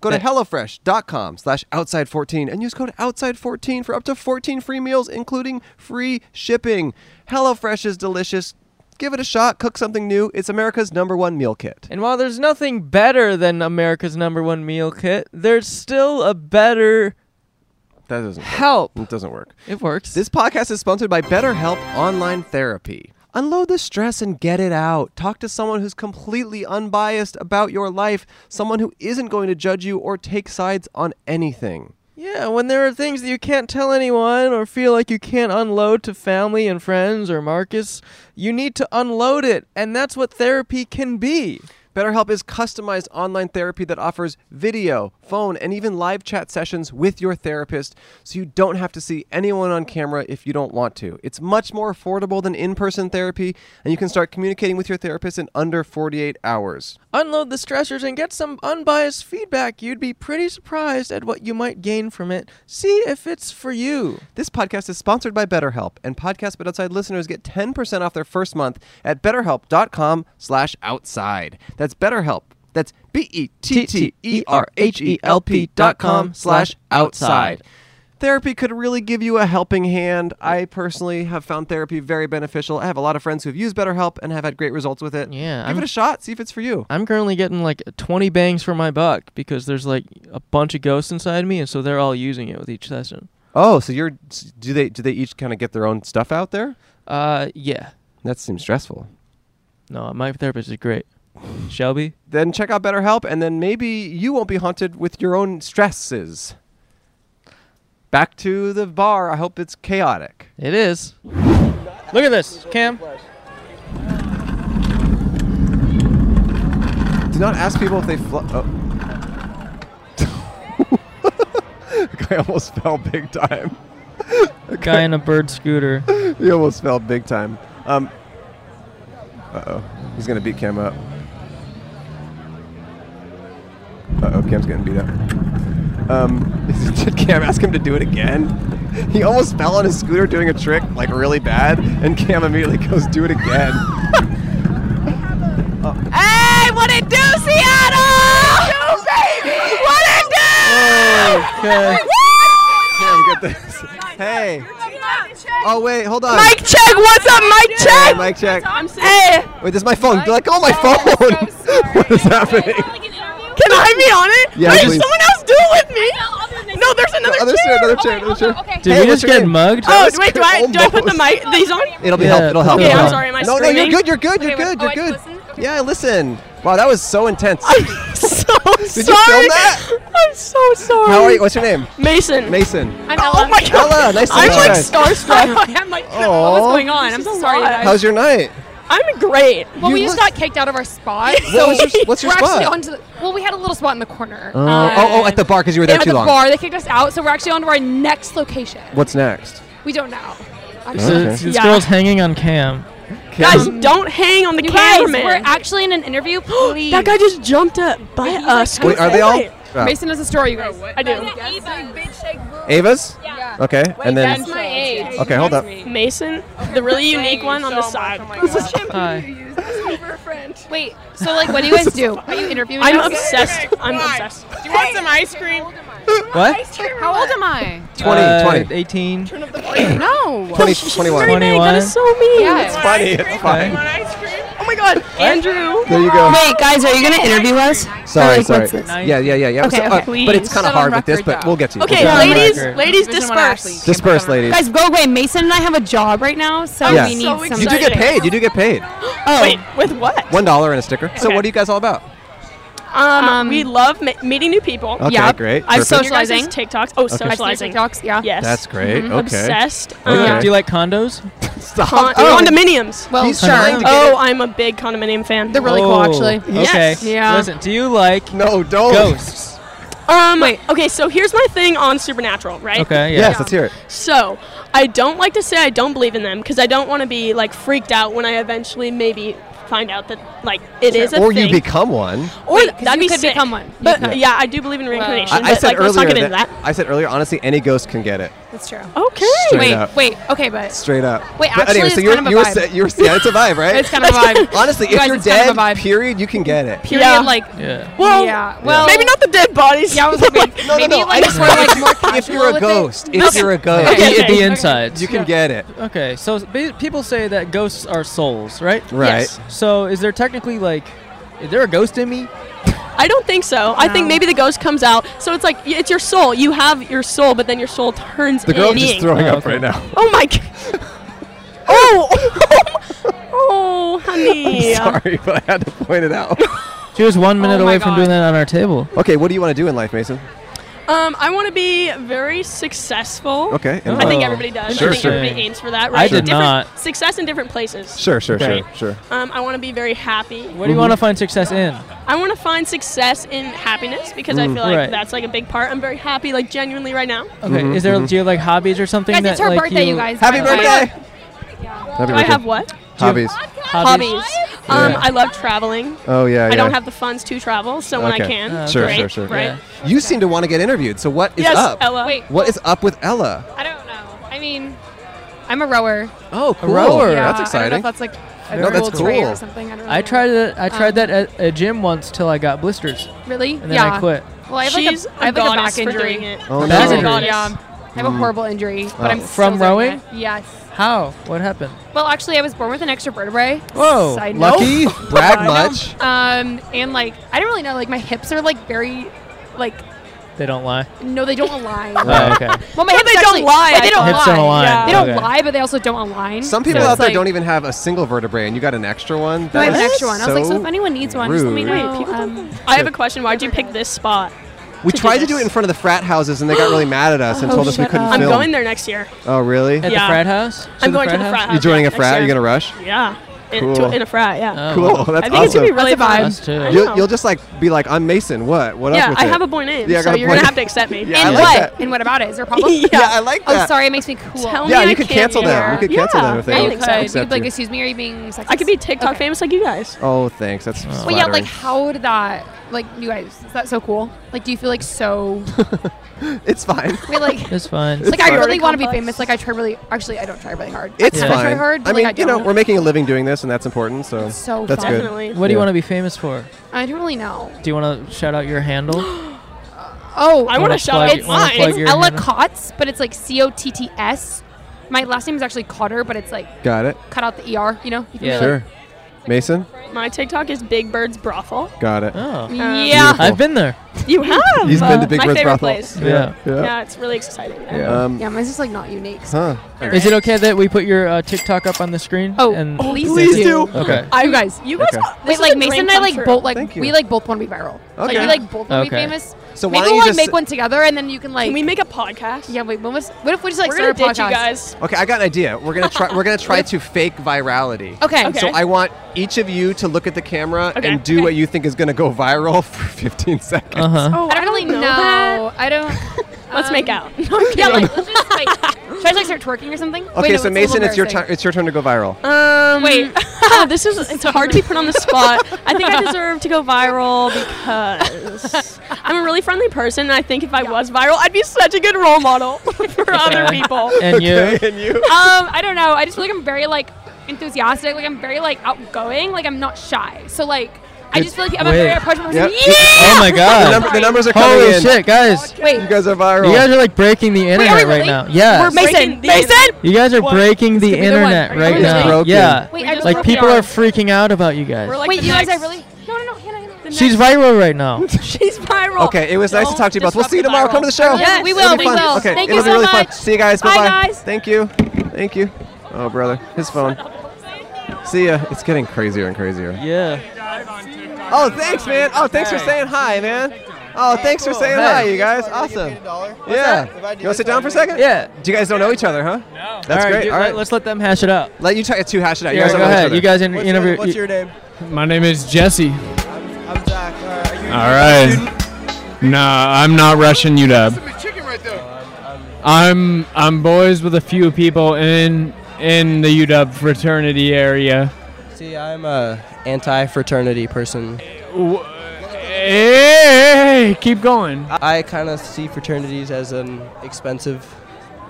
Go to
That-
HelloFresh.com slash Outside14 and use code Outside14 for up to 14 free meals, including free shipping. HelloFresh is delicious. Give it a shot. Cook something new. It's America's number one meal kit.
And while there's nothing better than America's number one meal kit, there's still a better
That doesn't work.
help.
It doesn't work.
It works.
This podcast is sponsored by BetterHelp Online Therapy. Unload the stress and get it out. Talk to someone who's completely unbiased about your life, someone who isn't going to judge you or take sides on anything.
yeah, when there are things that you can't tell anyone or feel like you can't unload to family and friends or Marcus, you need to unload it. And that's what therapy can be.
BetterHelp is customized online therapy that offers video, phone, and even live chat sessions with your therapist so you don't have to see anyone on camera if you don't want to. It's much more affordable than in person therapy, and you can start communicating with your therapist in under 48 hours.
Unload the stressors and get some unbiased feedback. You'd be pretty surprised at what you might gain from it. See if it's for you.
This podcast is sponsored by BetterHelp, and Podcast But Outside listeners get 10% off their first month at betterhelp.com slash outside. That's BetterHelp. That's E B-E-T-T-E-R-H-E-L-P E dot com slash outside. Therapy could really give you a helping hand. I personally have found therapy very beneficial. I have a lot of friends who have used BetterHelp and have had great results with it.
Yeah,
Give
I'm-
it a shot. See if it's for you.
I'm currently getting like 20 bangs for my buck because there's like a bunch of ghosts inside me, and so they're all using it with each session.
Oh, so you're do they do they each kind of get their own stuff out there?
Uh, yeah.
That seems stressful.
No, my therapist is great. Shelby?
Then check out BetterHelp, and then maybe you won't be haunted with your own stresses. Back to the bar. I hope it's chaotic.
It is. Look at this, Cam.
Do not ask people if they fl- oh. I almost fell big time.
Guy in a bird scooter.
he almost fell big time. Um, uh oh, he's gonna beat Cam up. Uh oh, Cam's getting beat up. Um, did Cam ask him to do it again? He almost fell on his scooter doing a trick like really bad, and Cam immediately goes, "Do it again."
Hey, what it do, Seattle? What it do?
okay. Cam, get this. Hey. Oh wait, hold on.
Mike check. What's up, Mike
Hey,
check?
Mike check.
Hey,
Wait, this is my phone. Be like, oh my phone. what is happening?
can I be on it?
Yeah,
Wait,
please.
someone else do it with me. No, there's another
Other
chair.
chair, another chair, another chair.
Did
Hey,
we
what's
just
your
get
name?
mugged?
That
Oh,
was
wait, do I do I put the mic these on?
It'll be
Yeah,
help. It'll help.
okay,
it'll
I'm
help.
sorry, am I
No, no, you're
screaming? oh,
good. You're good. You're good. You're good. Yeah, I listened. Wow, that was so intense.
so
Did you
sorry.
film that?
I'm so sorry.
How are you? What's your name?
Mason.
Mason.
I'm Ella. Oh my god.
Ella, nice to meet
I'm
you
like
guys.
starstruck. I'm like,
Aw.
what's going on? I'm so sorry. guys.
How's your night?
I'm great.
Well,
You
we just
look-
got kicked out of our spot.
What
So
was your- what's your
we're actually
spot?
onto the, well, we had a little spot in the corner. Um,
Oh, oh, oh, at the bar because you were there
at
too
the
long.
bar, they kicked us out, so we're actually on to our next location.
What's next?
We don't know.
Oh,
So
actually.
This girl's hanging on Cam.
Guys, don't hang on the
You guys,
cameraman.
we're actually in an interview. Please.
that guy just jumped up by us.
Wait, are they all? Oh.
Mason has a story, you guys.
I do.
Ava's? Okay, and then.
my age.
Okay, hold up.
Mason, the really unique one on the side.
Uh,
Hi.
Wait. So, like, what do you guys do? Are you interviewing?
I'm
us?
obsessed. I'm obsessed.
Do you want some ice cream?
What?
How old am I?
20,
Uh,
20.
18.
No.
20, 21.
Very nice. That is so mean.
Yeah.
It's-
Funny, it's fine.
Oh my god, Andrew.
There you go.
Wait, guys, are you gonna interview us?
Sorry,
Like,
sorry.
what's this?
Yeah, yeah, yeah, yeah.
Okay,
So, uh,
okay.
But it's kind
Set
of
on
hard with this,
record,
but we'll get to it.
Okay,
We'll get to it.
ladies,
record.
ladies,
Division one athlete.
disperse.
Disperse, ladies.
Guys, go away. Mason and I have a job right now, so
Yeah.
we need
so
some.
you do get paid. You do get paid.
Oh. Wait, with what?
One dollar and a sticker. So
Okay.
what are you guys all about?
Um,
Um,
we love ma- meeting new people.
Okay, great.
I've
Perfect.
seen your guys'
Socializing.
TikToks. Oh,
Okay.
socializing.
TikToks. Yeah.
Yes. Mm-hmm.
That's great.
Mhm.
Okay.
Obsessed.
Okay.
Um,
Do you like condos?
Stop.
con-
Oh,
condominiums.
Well,
He's
sure.
trying to get Oh.
Oh, I'm a big condominium fan.
They're really cool,
Whoa.
actually.
Oh, Okay.
Yes.
Yeah.
Listen, do you like
no, don't.
ghosts?
um, okay, so here's my thing on Supernatural, right?
Okay. Yeah.
Yes, let's hear it.
So, I don't like to say I don't believe in them because I don't want to be like freaked out when I eventually maybe find out that like it is a
Or
thing.
you become one.
or
'cause
that'd
you
be
could
sick.
become one. You
But
could.
yeah, I do believe in reincarnation.
I, I
but,
said
like, let's not
earlier
get into
that,
that.
I said earlier. Honestly, any ghost can get it.
That's true.
Okay.
Straight
wait,
up.
wait. Okay, but
Straight up.
Wait,
But
actually,
anyway,
it's
so you're
kind of a
you were
vibe.
sa- you were yeah, it's a vibe, right?
it's kind of a vibe.
Honestly,
You
if
guys,
you're
it's kind
dead,
of a vibe.
period, you can get it.
Period.
Yeah.
Like.
Yeah.
Well,
yeah. Well.
maybe not the dead bodies.
Yeah, I was hoping maybe
no, no, I
like
just
we're like more
if
casual
you're a
with it.
ghost, if you're a ghost,
Okay,
The-
okay.
The insides.
you can get it.
Okay, so ba- people say that ghosts are souls, right?
Right.
So is there technically like, is there a ghost in me?
I don't think so. I think maybe the ghost comes out. So it's like y- it's your soul. You have your soul, but then your soul turns.
The girl's
in
just
being.
throwing
Oh,
up
okay.
right now.
Oh my. g- oh. oh, honey.
Sorry, but I had to point it out.
She was one minute
Oh my
away from
God.
doing that on our table.
Okay, what do you want to do in life, Mason?
Um, I want to be very successful.
Okay. and uh,
I think
Oh,
everybody does.
Sure,
I think
sure.
everybody aims for that, right?
did
different
not.
Success in different places.
Sure, sure,
Okay.
sure, sure.
Um, I want to be very happy.
What do you want to
Mm-hmm.
find success in?
I want to find success in happiness because I feel like
Mm, Right.
that's like a big part. I'm very happy, like genuinely right now.
Okay, is there do you have, like hobbies or something
Guys,
that
it's her
like
birthday,
you,
you guys.
Mm-hmm, Happy
by the way.
birthday! Happy
Do
birthday.
I have what?
Hobbies.
Hobbies.
Um,
Yeah.
I love traveling.
Oh yeah, yeah.
I don't have the funds to travel, so when I
Okay.
can,
Uh,
Sure,
great,
sure, sure.
right?
Yeah.
You seem to want to get interviewed. So what is
Yes,
up?
Ella.
Wait.
What is up with Ella?
I don't know. I mean, I'm a rower.
Oh, cool.
rower.
Yeah,
that's
I don't know
exciting.
if that's like a
No, that's
cool trait
cool.
or something. I, don't
I
really
tried it. I tried
Um,
that at a gym once till I got blisters,
know. Really?
and then
yeah.
I quit.
Well, I have
She's
like a, I have like a
goddess
back
for
injury.
doing it.
Oh
Back
no.
injury.
Yeah.
Goddess.
I have a
Mm.
horrible injury,
Oh.
but I'm
From
still doing
rowing?
it. Yes.
How? What happened?
Well, actually, I was born with an extra vertebrae.
Whoa,
Side note.
Lucky, brag much.
Um, and like I don't really know. Like my hips are like very, like
They don't lie.
No, they don't align.
Oh, okay.
Well, my
But
hips
they don't
actually-
lie,
wait,
I
they don't
thought. Hips
lie.
don't align,
They don't
okay.
lie, but they also don't align.
Some people
So
out
it's
there
like-
don't even have a single vertebrae, and you got an extra one.
No, I have an
That is
extra one. I was like, so if
so
anyone needs one, just let me
rude.
know. Um,
I have a question. Why'd you pick this spot?
We
to do
tried to do
this.
it in front of the frat houses, and they got really mad at us and
Oh,
Uh, told us we
shut
couldn't
up. I'm
film.
going there next year.
Oh, really?
Yeah. I'm going to the frat house.
You joining a
next
frat?
year.
You gonna rush?
Yeah. It,
Cool. Oh.
to, in a frat, yeah.
Cool. That's
I think it's
awesome.
gonna be really fun. I know.
You'll, you'll just like be like, I'm Mason. What? What
yeah,
up with
I
it?
have a boy name,
Yeah, I got
so
a
you're
boy
gonna
name.
have to accept me.
Yeah, I
and
like
what?
that.
And what about it? Is there a problem?
Yeah. Yeah, I
like
Oh,
that.
sorry, it makes me cool.
Tell
yeah,
me
you
I
could
can't
cancel them.
hear.
You could cancel them if they
Yeah, you
don't
could. You could
accept
be like,
you.
excuse me, are you being sexist?
I could be TikTok famous like you guys.
Oh, thanks. That's
Well, yeah, like
flattering.
how did that? Like, you guys, is that so cool? Like, do you feel like so?
It's fine.
Wait, like,
It's fine.
like I
fine.
really want to be
Complex.
famous. Like, I try really. Actually, I don't try really hard.
It's
I kinda try
fine.
hard, but
I mean,
like, I
you
don't.
know, we're making a living doing this, and that's important. So,
so
that's
fun.
good.
Definitely.
What do you
Yeah.
want to be famous for?
I don't really know.
Do you want to shout out your handle?
Oh,
I wanna Wanna shout plug- out
It's,
wanna mine. plug
it's
your
Ella
handle?
Kotz, but it's like C O T T S. My last name is actually Cotter, but it's like
Got it.
cut out the ER. You know. You can
Yeah.
be like-
Sure. Mason,
My TikTok is Big Bird's Brothel. Um,
got it.
Oh.
Yeah.
Beautiful.
I've been there.
You have.
He's been to Big
my
Bird's
favorite
brothel.
place.
Yeah.
yeah.
Yeah.
it's really exciting.
Yeah. Um,
yeah, mine's just like not unique.
Huh.
Is it okay that we put your uh, TikTok up on the screen?
Oh,
and
oh, please Please do. do.
Okay.
I, you guys,
you
guys Okay. are-
this
Wait,
is
like
a
Mason
dream
and I
come
like
true.
both like
Thank you.
we like both want to be viral. Like
Okay.
we like both want to be
Okay.
famous.
So why
maybe
don't
we'll
you
like
just-
make one together and then you can like.
Can we make a podcast?
Yeah, wait. What was? What if we just like
We're
start a
gonna ditch you
podcast?
guys.
Okay, I got an idea. We're gonna try. we're gonna try to fake virality.
Okay. Okay.
So I want each of you to look at the camera
Okay. Oh,
and do what you think is gonna go viral for 15 seconds. Uh-huh.
Oh,
I don't really know.
that.
I don't. um,
Let's make out.
yeah, like let's just like. Should I just, like start twerking or something?
Okay,
Wait, no,
so
a little
Mason, it's your
embarrassing.
turn. It's your turn to go viral.
Um, Wait, this is it's hard to be put on the spot. I think I deserve to go viral because I'm a really friendly person, and I think if I was viral, I'd be such a good role model for other people.
And you? Okay,
and you?
um, I don't know. I just feel like I'm very like enthusiastic. Like I'm very like outgoing. Like I'm not shy. So like I
Good.
just feel like I'm a very
Wait.
approachable person.
Yep.
Yeah.
Oh my god.
The, number, the numbers are coming
Holy
in.
shit, guys.
Wait.
You guys are viral.
You guys are like breaking the internet right now. Yeah.
We're Mason. Mason.
You guys are breaking the
be the one.
internet
Are we
right
really?
now.
Broken.
Yeah.
Wait, I just
like
broke
people
the
are
arm.
freaking out about you guys.
Wait, you guys, I really. No, no, no, Hannah, Hannah.
She's viral right
Oh.
now.
She's viral.
Okay, it was nice to talk to you both. We'll see you tomorrow. Come to the show.
Really? Yes. We
It'll
will, we
be fun.
will.
Okay,
Thank
it'll
you
be
so
really
much.
fun. See you guys.
Bye,
Bye-bye.
guys.
Thank you. Thank you. Oh, brother, his phone. See ya. It's getting crazier and crazier.
Yeah.
Oh, thanks, man. Oh, thanks for saying hi, man. Oh, thanks for saying hi, you guys. Awesome. Yeah. You want to sit down for a second? Yeah. You guys don't know each other, huh? No. That's
All right,
great.
dude,
All
let-
right.
Let's let them hash it out.
Let you try to hash it out. You
Yeah,
guys don't
go
know each
ahead.
other.
You guys in- What's your- interview- what's you- your
name?
My name is Jesse.
I'm Zach. Uh, All
All right. No, I'm not Russian UW. I'm I'm boys with a few people in in the UW fraternity area.
See, I'm a anti-fraternity person.
Hey, keep going.
I kind of see fraternities as an expensive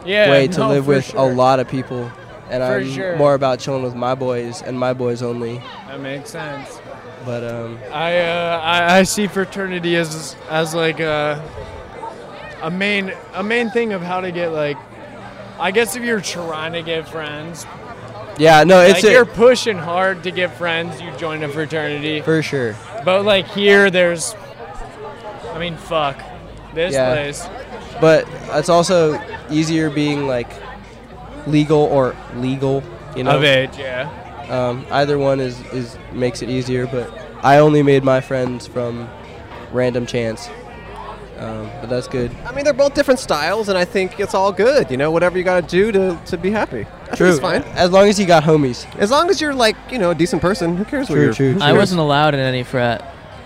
Yeah,
way to
no,
live
for
with
sure.
a lot of people, and
For
I'm
sure.
more about chilling with my boys and my boys only.
That makes sense.
But um,
I, uh, I I see fraternity as as like a a main a main thing of how to get like I guess if you're trying to get friends.
yeah, no, it's
like
a,
you're pushing hard to get friends. You join a fraternity
for sure.
But like here, there's, I mean, fuck, this
yeah.
place.
But it's also easier being like legal or legal, you know.
Of age, yeah.
Um, either one is, is makes it easier, but I only made my friends from random chance. Um, but that's good.
I mean, they're both different styles, and I think it's all good. You know, whatever you got to do to, to be happy. I think
True.
It's fine.
As long as you got homies.
As long as you're like, you know, a decent person, who cares what
True,
you're
true,
who
true.
I
cares?
wasn't allowed in any frat.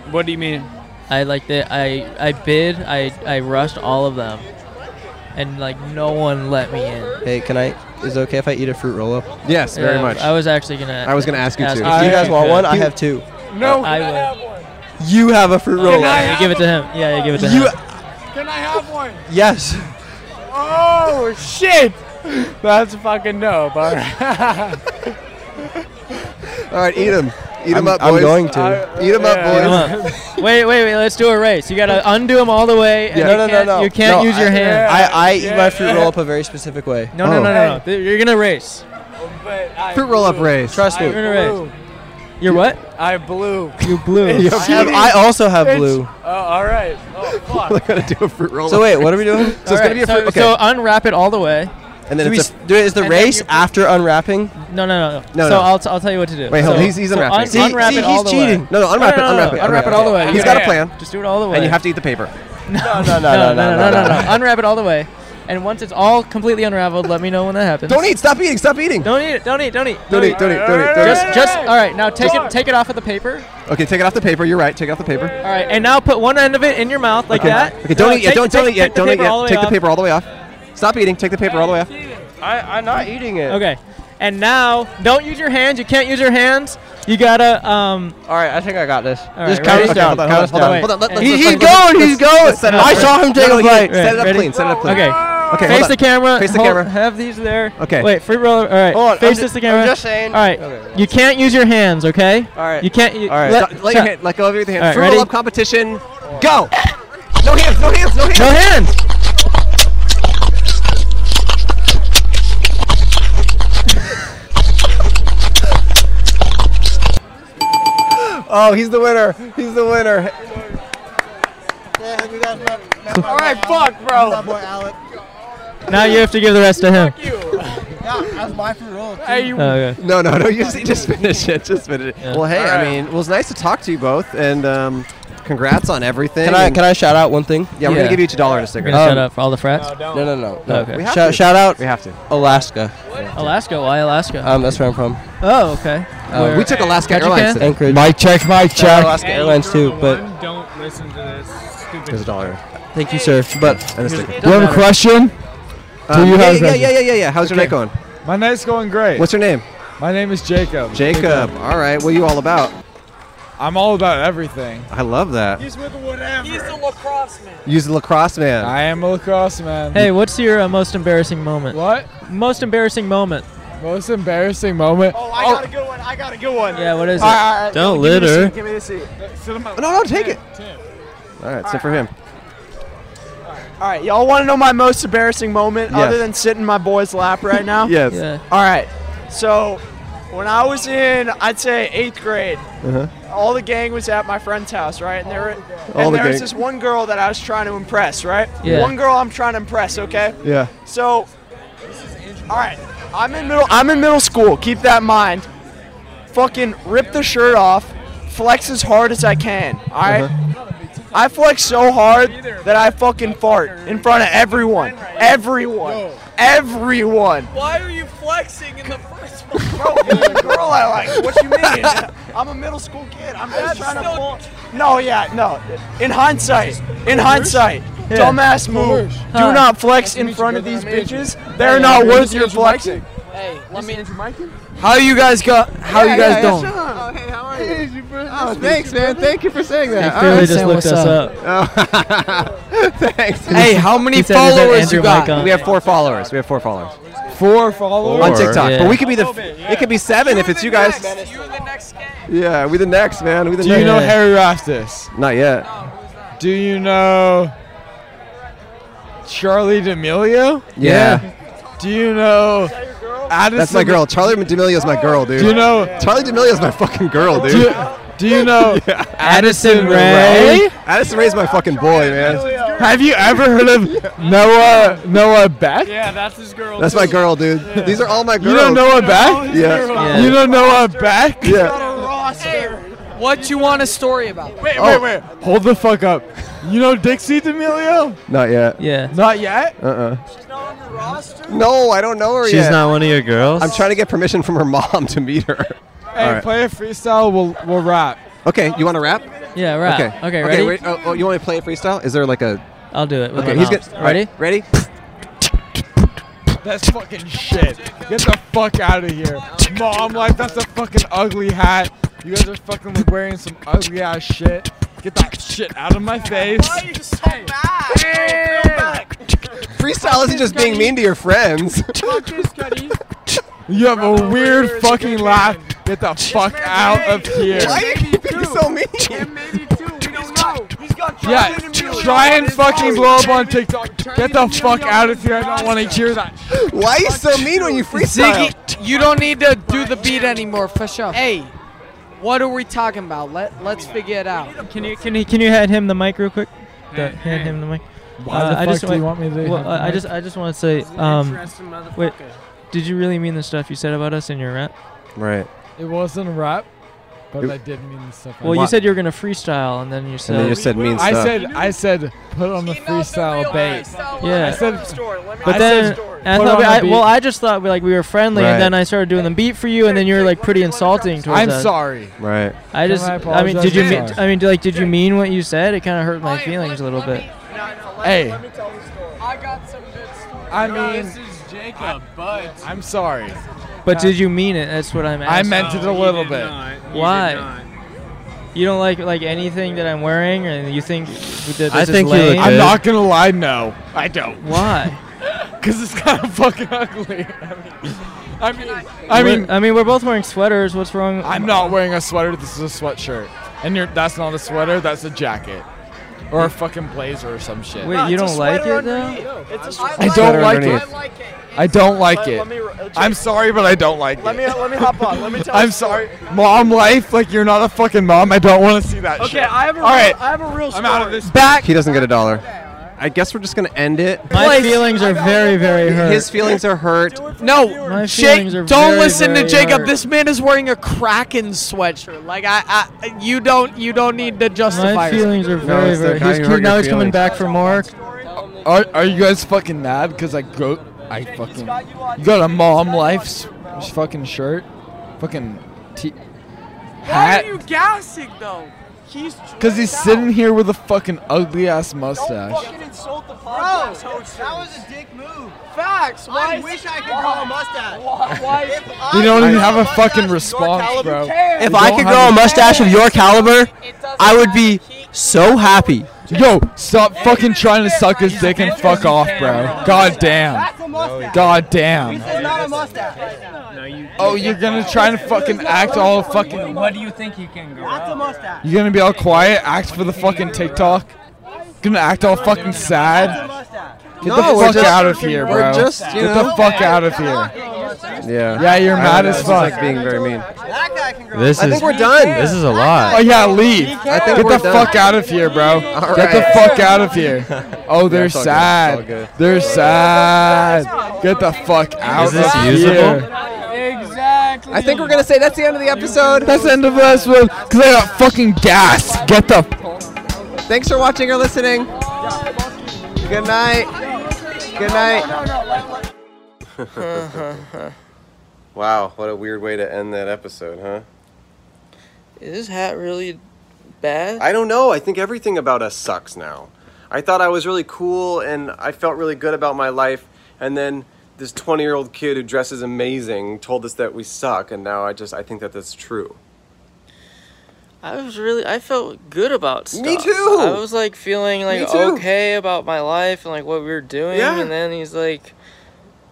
What do you mean?
I like that. I I bid. I I rushed all of them, and like no one let me in.
Hey, can I? Is it okay if I eat a fruit roll up?
Yes,
very Yeah, much. I was actually gonna
I was gonna ask you ask to.
Do
if
you
you
guys want
could.
one? I
You-
have two.
No,
I would.
You have a fruit roll
Yeah,
up.
you give it to him. Yeah, you give it to
You-
him.
Can I have one?
Yes.
Oh shit, that's fucking dope. All right.
All right, eat them. Eat them
I'm-
up,
I'm
boys.
going to. I-
Eat them up, boys.
Come on. wait, wait, wait. Let's do a race. You gotta undo them all the way. And
Yeah.
you
No, no, no,
can't-
no.
You can't
No,
use your
I-
hand.
I, I eat my fruit roll up a very specific way.
No,
Oh.
no, no, no, no. Th- You're gonna race.
Fruit roll up race.
Trust me.
You're gonna race. You're what?
I blew.
You blew.
I, have, I also have
It's-
blue.
Oh, all right. Oh,
We're gonna do a fruit roll.
So wait, what are we doing?
so it's gonna be a
so,
fruit. Okay.
so unwrap it all the way.
and then
do we
it's
s-
a,
do it, is the
and then
race
you-
after unwrapping?
No, no, no, no.
No,
so
no.
I'll, t- I'll tell you what to do.
Wait, hold on,
So-
he's- he's
so
unwrapping.
un-
See-
unwrap
see,
it all
he's
the way.
cheating. No, no, unwrap it, unwrap it,
Unwrap it all the way.
He's
Yeah,
got a
yeah,
plan.
yeah. Just do it all the way.
and you have to eat the paper.
No,
no, no, no, no, no, no.
Unwrap it all the way. And once it's all completely unraveled, let me know when that happens.
Don't eat. Stop eating. Stop eating.
Don't eat it. Don't eat. Don't eat.
Don't eat, don't eat, don't eat, don't
Just,
eat.
just. All right. Now take it. Take it off of the paper.
Okay, take it off the paper. You're right. Take it off the paper.
All right. And now put one end of it in your mouth like
okay.
that.
Okay, don't
No,
eat yet.
take-
Don't, don't
take-
eat yet.
take the
Don't eat
paper all
yet. Take the
way
paper
off.
all the way off. Stop eating. Take the paper all the way off.
I, I'm not eating it.
Okay. And now, don't use your hands. You can't use your hands. You gotta. Um.
All right, I think I got this.
All
Just
right,
count
ready?
us down.
Okay,
count us
hold on,
down.
hold on, let- let's-
He-
let's-
he's
let's-
going.
let's-
He's going.
let's set it up
I
right.
saw him take
No,
a
no,
bite.
right,
Set it up
ready?
clean. Set it up clean.
Okay.
Okay,
Face
hold
the
on.
camera.
Face the
Hold-
camera.
Have these there.
Okay.
Wait. Free roller. All right.
Hold on, I'm
Face
ju-
this the camera.
I'm just saying.
All right. You can't use your hands. Okay. All right. You can't. You,
All right.
Let,
Let, let your hand. Let go of your hand.
All right,
Fruit
ready?
roll up competition. Go. No hands. No hands. No hands.
No hands.
Oh, he's the winner. He's the winner.
All right, fuck, bro.
Now you have to give the rest to him.
That's my fruit roll.
Hey,
Oh,
you.
Okay.
No, no, no. You just, you just finish it. Just finish it. Well, hey, I
Alright.
mean, it was nice to talk to you both, and um, congrats on everything.
Can I
and-
can I shout out one thing? Um,
Yeah, we're gonna give you each a dollar to stick
We're
around.
gonna shout out for all the frats.
No, no, no. no.
Okay. We have
Shout-
to.
shout out.
We have to.
Alaska.
Alaska. Why Alaska?
Um, that's where I'm from.
oh, okay.
Uh,
Where-
we took
Alaska
How'd you
Airlines
can-
today. Anchorage.
Mic check, mic
Shout out
check.
Alaska Airlines too, but
Don't listen to this stupid.
There's a dollar.
thank you, sir. But
And a sticker.
One question. Do
Um,
you
yeah,
have
yeah,
a-
yeah, yeah, yeah, yeah. How's your night going?
My night's going great.
What's your name?
My name is Jacob.
Jacob. All right. What are you all about?
I'm all about everything.
I love that.
He's with whatever. He's the
lacrosse man.
Use the lacrosse man.
I am a lacrosse man.
Hey, what's your uh, most embarrassing moment?
What?
Most embarrassing moment.
Most embarrassing moment. Oh,
I got a good one. I got a good one.
Yeah, what is it?
All right, all right,
Don't
give me the
litter.
seat, Give me the seat.
No,
no, take it. All right. So for him.
All right, y'all want to know my most embarrassing moment
Yes.
other than sitting in my boy's lap right now?
Yes. Yeah.
All right. So, when I was in, I'd say eighth grade,
Uh-huh.
all the gang was at my friend's house, right? And there, were,
All
and
the
there was
gang.
this one girl that I was trying to impress, right?
Yeah.
One girl I'm trying to impress, okay?
Yeah.
So, all right, I'm in middle. I'm in middle school. Keep that in mind. Fucking rip the shirt off, flex as hard as I can. All right?
Uh-huh.
I flex so hard that I fucking fart in front of everyone. Everyone. Everyone.
Why are you flexing in the first
Bro, you're the girl I like. What you mean? I'm a middle school kid. I'm just trying to. pull- No, yeah, no. In hindsight, in hindsight,
Yeah.
dumbass move.
Huh.
Do not flex in front of these bitches. They're not worth your flexing.
Hey, let me Andrew Mike.
How you guys got? How
Yeah,
you guys
yeah,
doing?
Oh, hey, how are you?
Oh, thanks, man. Thank you for saying
He
that.
clearly
All
just looked us
up. thanks.
Oh. Hey, how many
He said, is that
followers you
Andrew
got?
Mike on? We have four followers. We have four followers.
Four followers
on TikTok, but we could be the. f- It could be seven if it's you guys.
You're the next game.
Yeah, we the next man. We the
Do
next.
you know Harry Rastus?
Not yet.
Do you know Charlie D'Amelio?
Yeah.
Do you know Addison?
That's my girl. Charlie D'Amelio's my girl, dude.
Do you know-
Charlie D'Amelio's my fucking girl, dude.
Do you, do you know Addison
Ray? Addison Ray's my fucking boy, man.
Have you ever heard of Noah Noah Beck? Yeah, that's his girl.
That's my girl, dude. These are all my
You
girls.
don't know Noah Beck?
Yeah. yeah.
You don't know Noah Beck?
Yeah.
What you want a story about? Wait,
Oh, Hold the fuck up. You know Dixie D'Amelio?
Not yet.
Yeah.
Not yet? Uh-uh.
Uh uh No, I don't know her yet.
one of your girls.
I'm trying to get permission from her mom to meet her.
Hey,
All right.
play a freestyle. We'll we'll rap.
Okay, you want to rap?
Yeah, rap.
Okay.
Okay, ready?
wait, oh, oh, you want to play a freestyle? Is there like a?
I'll do it. With
Okay,
my
he's
mouth.
good. Ready? Ready?
That's fucking shit. Get the fuck out of here. Mom, like that's a fucking ugly hat. You guys are fucking wearing some ugly ass shit. Get that shit out of my face.
Why are you so mad?
Freestyle isn't just being mean to your friends.
You have a weird fucking laugh. Get the fuck out of here.
Why are
you being so mean?
Yeah, try and fucking blow up on TikTok. Get the fuck out of here. I don't want to hear that.
Why are you so mean when you freestyle?
Ziggy, you don't need to do the beat anymore for sure. Hey, what are we talking about? Let Let's figure it out.
Can you can you can you hand him the mic real quick? the, hand him the mic. Uh,
Why the
I
fuck
just
do you want me to
Well,
hand
uh,
the
I
mic?
just I just want to say,
He's an
um,
interesting motherfucker.
wait, did you really mean the stuff you said about us in your rap?
Right.
It wasn't a rap, but
It-
I did mean the stuff. I
Well, you
meant.
said you were gonna freestyle, and then you said
then you said mean
I
stuff.
said I said put on the freestyle bait.
Yeah.
uh, I said,
But
I
then,
said,
and I
put
thought
on
we,
the
I,
beat.
well, I just thought we like we were friendly,
Right.
and then I started doing the beat for you, and then you were like pretty insulting towards
I'm
us.
sorry.
Right.
I
Can
just,
I
I, mean, did you
apologize?
mean?
Sorry.
I mean, do, like, did you mean what you said? It kind of hurt my feelings a little bit.
hey,
I got some good stories.
I mean,
Jacob, bud.
I'm sorry.
But did you mean it? That's what I'm
I
asking.
meant it a little bit.
Why? You don't like like anything that I'm wearing, and you think that this is lame?
I'm not gonna lie. No, I don't.
Why?
Because it's kind of fucking ugly. I mean, I
I
mean,
mean, I mean, we're both wearing sweaters. What's wrong?
I'm not wearing a sweater. This is a sweatshirt, and you're, that's not a sweater. That's a jacket, or a fucking blazer or some shit.
Wait, you don't like it though?
It's
I don't like it. I don't like
Let-
it.
let me re-
I'm sorry, but I don't like
Let
it.
me let me hop on. Let me tell.
I'm sorry, mom. Life, like you're not a fucking mom. I don't want to see that shit.
Okay, I have a
All right,
I have a real story.
I'm out of this.
Back. He doesn't get a dollar. I guess we're just gonna end it.
My feelings are very, very hurt.
His feelings are hurt.
No,
My
Jake,
feelings are
don't
very,
listen
very
to Jacob.
hurt.
This man is wearing a Kraken sweatshirt. Like I, I, you don't, you don't need to justify.
My feelings are
yourself.
very, very.
guy
He's,
who
keep-
hurt
now
your
he's coming
feelings.
back for more.
Uh, Are, are you guys fucking mad? Because I go, I fucking you got a mom life's fucking shirt, fucking t- hat.
you gassing though? He's
Because he's sitting here with a fucking ugly ass mustache.
insult the podcast host. That was a dick move. Facts. Why? I wish I could grow a mustache. Why? If I
You don't
could
even
grow
have a
mustache
fucking
of your
response,
caliber,
bro.
who cares?
If
You
I
don't
could
have
grow
a-
a mustache of your caliber, I would be so happy.
Yo, stop fucking trying to suck his dick and fuck off, bro. God damn. God damn.
not a mustache. No, you.
Oh, you're gonna try and fucking act all fucking.
What do you think he can grow? That's a mustache.
You're gonna be all quiet, act for the fucking TikTok. Gonna act all fucking sad. Get
No,
the
we're
fuck
just-
out of here,
we're
bro.
just, you
Get the
know-
fuck out of here.
Yeah.
Yeah, you're
I don't
mad
know,
as
it's just like
fuck.
being very mean.
This
I
is,
think we're done.
This is a lot.
Oh yeah, leave.
I think
Get
we're
the
done.
fuck out of here, bro.
All
Get the
right.
fuck out of here. Oh,
Yeah,
they're
it's all good. It's all good.
sad. They're sad. Get the fuck out
Is this
of
usable?
here.
Exactly.
I think we're gonna say that's the end of the episode.
That's the end of this one. Cause I got fucking gas. Get the.
Thanks for watching or listening. Good night. Good night. wow, what a weird way to end that episode, huh?
Is this hat really bad?
I don't know. I think everything about us sucks now. I thought I was really cool and I felt really good about my life, and then this 20 year old kid who dresses amazing told us that we suck, and now I just I think that that's true.
I was really I felt good about stuff.
Me too.
I was like feeling like
Me too.
okay about my life and like what we were doing
Yeah.
and then he's like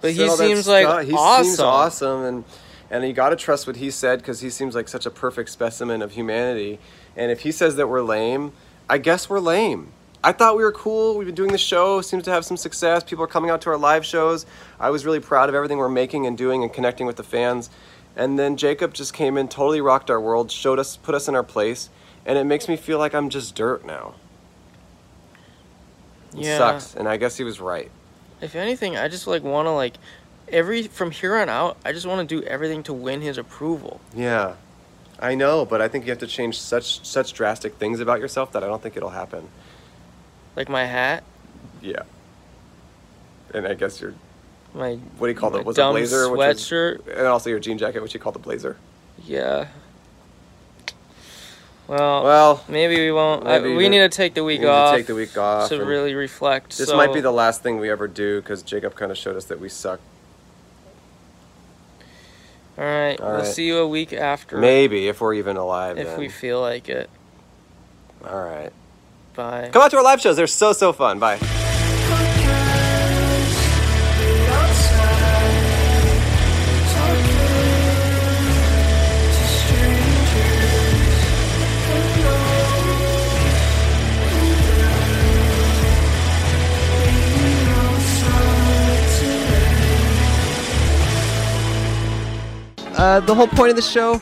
but
Said
he
all that
seems like
stuff- he
awesome.
seems awesome, and and you got to trust what he said because he seems like such a perfect specimen of humanity. And if he says that we're lame, I guess we're lame. I thought we were cool. We've been doing the show, seems to have some success. People are coming out to our live shows. I was really proud of everything we're making and doing and connecting with the fans. And then Jacob just came in, totally rocked our world, showed us, put us in our place, and it makes me feel like I'm just dirt now. It
Yeah.
sucks, and I guess he was right.
If anything, I just like want to like every from here on out, I just want to do everything to win his approval.
Yeah, I know, but I think you have to change such such drastic things about yourself that I don't think it'll happen.
Like my hat,
Yeah, and I guess your
my
what do you call
my
it? Was
dumb
a blazer,
sweatshirt.
which is, and also your jean jacket, which you call the blazer.
yeah. Well,
Well,
maybe we won't. I-
maybe
Uh, we
the-
need to take the week
we need to
off.
take the week off
to
and
really reflect.
This
so-
might be the last thing we ever do because Jacob kind of showed us that we suck.
All right,
All
we'll
right.
see you a week after.
Maybe if we're even alive.
If
then.
we feel like it.
All right.
Bye.
Come out to our live shows. They're so so fun. Bye. Uh, the whole point of the show.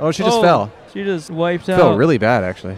Oh, she just
Oh,
fell.
She just wiped out.
Fell really bad, actually.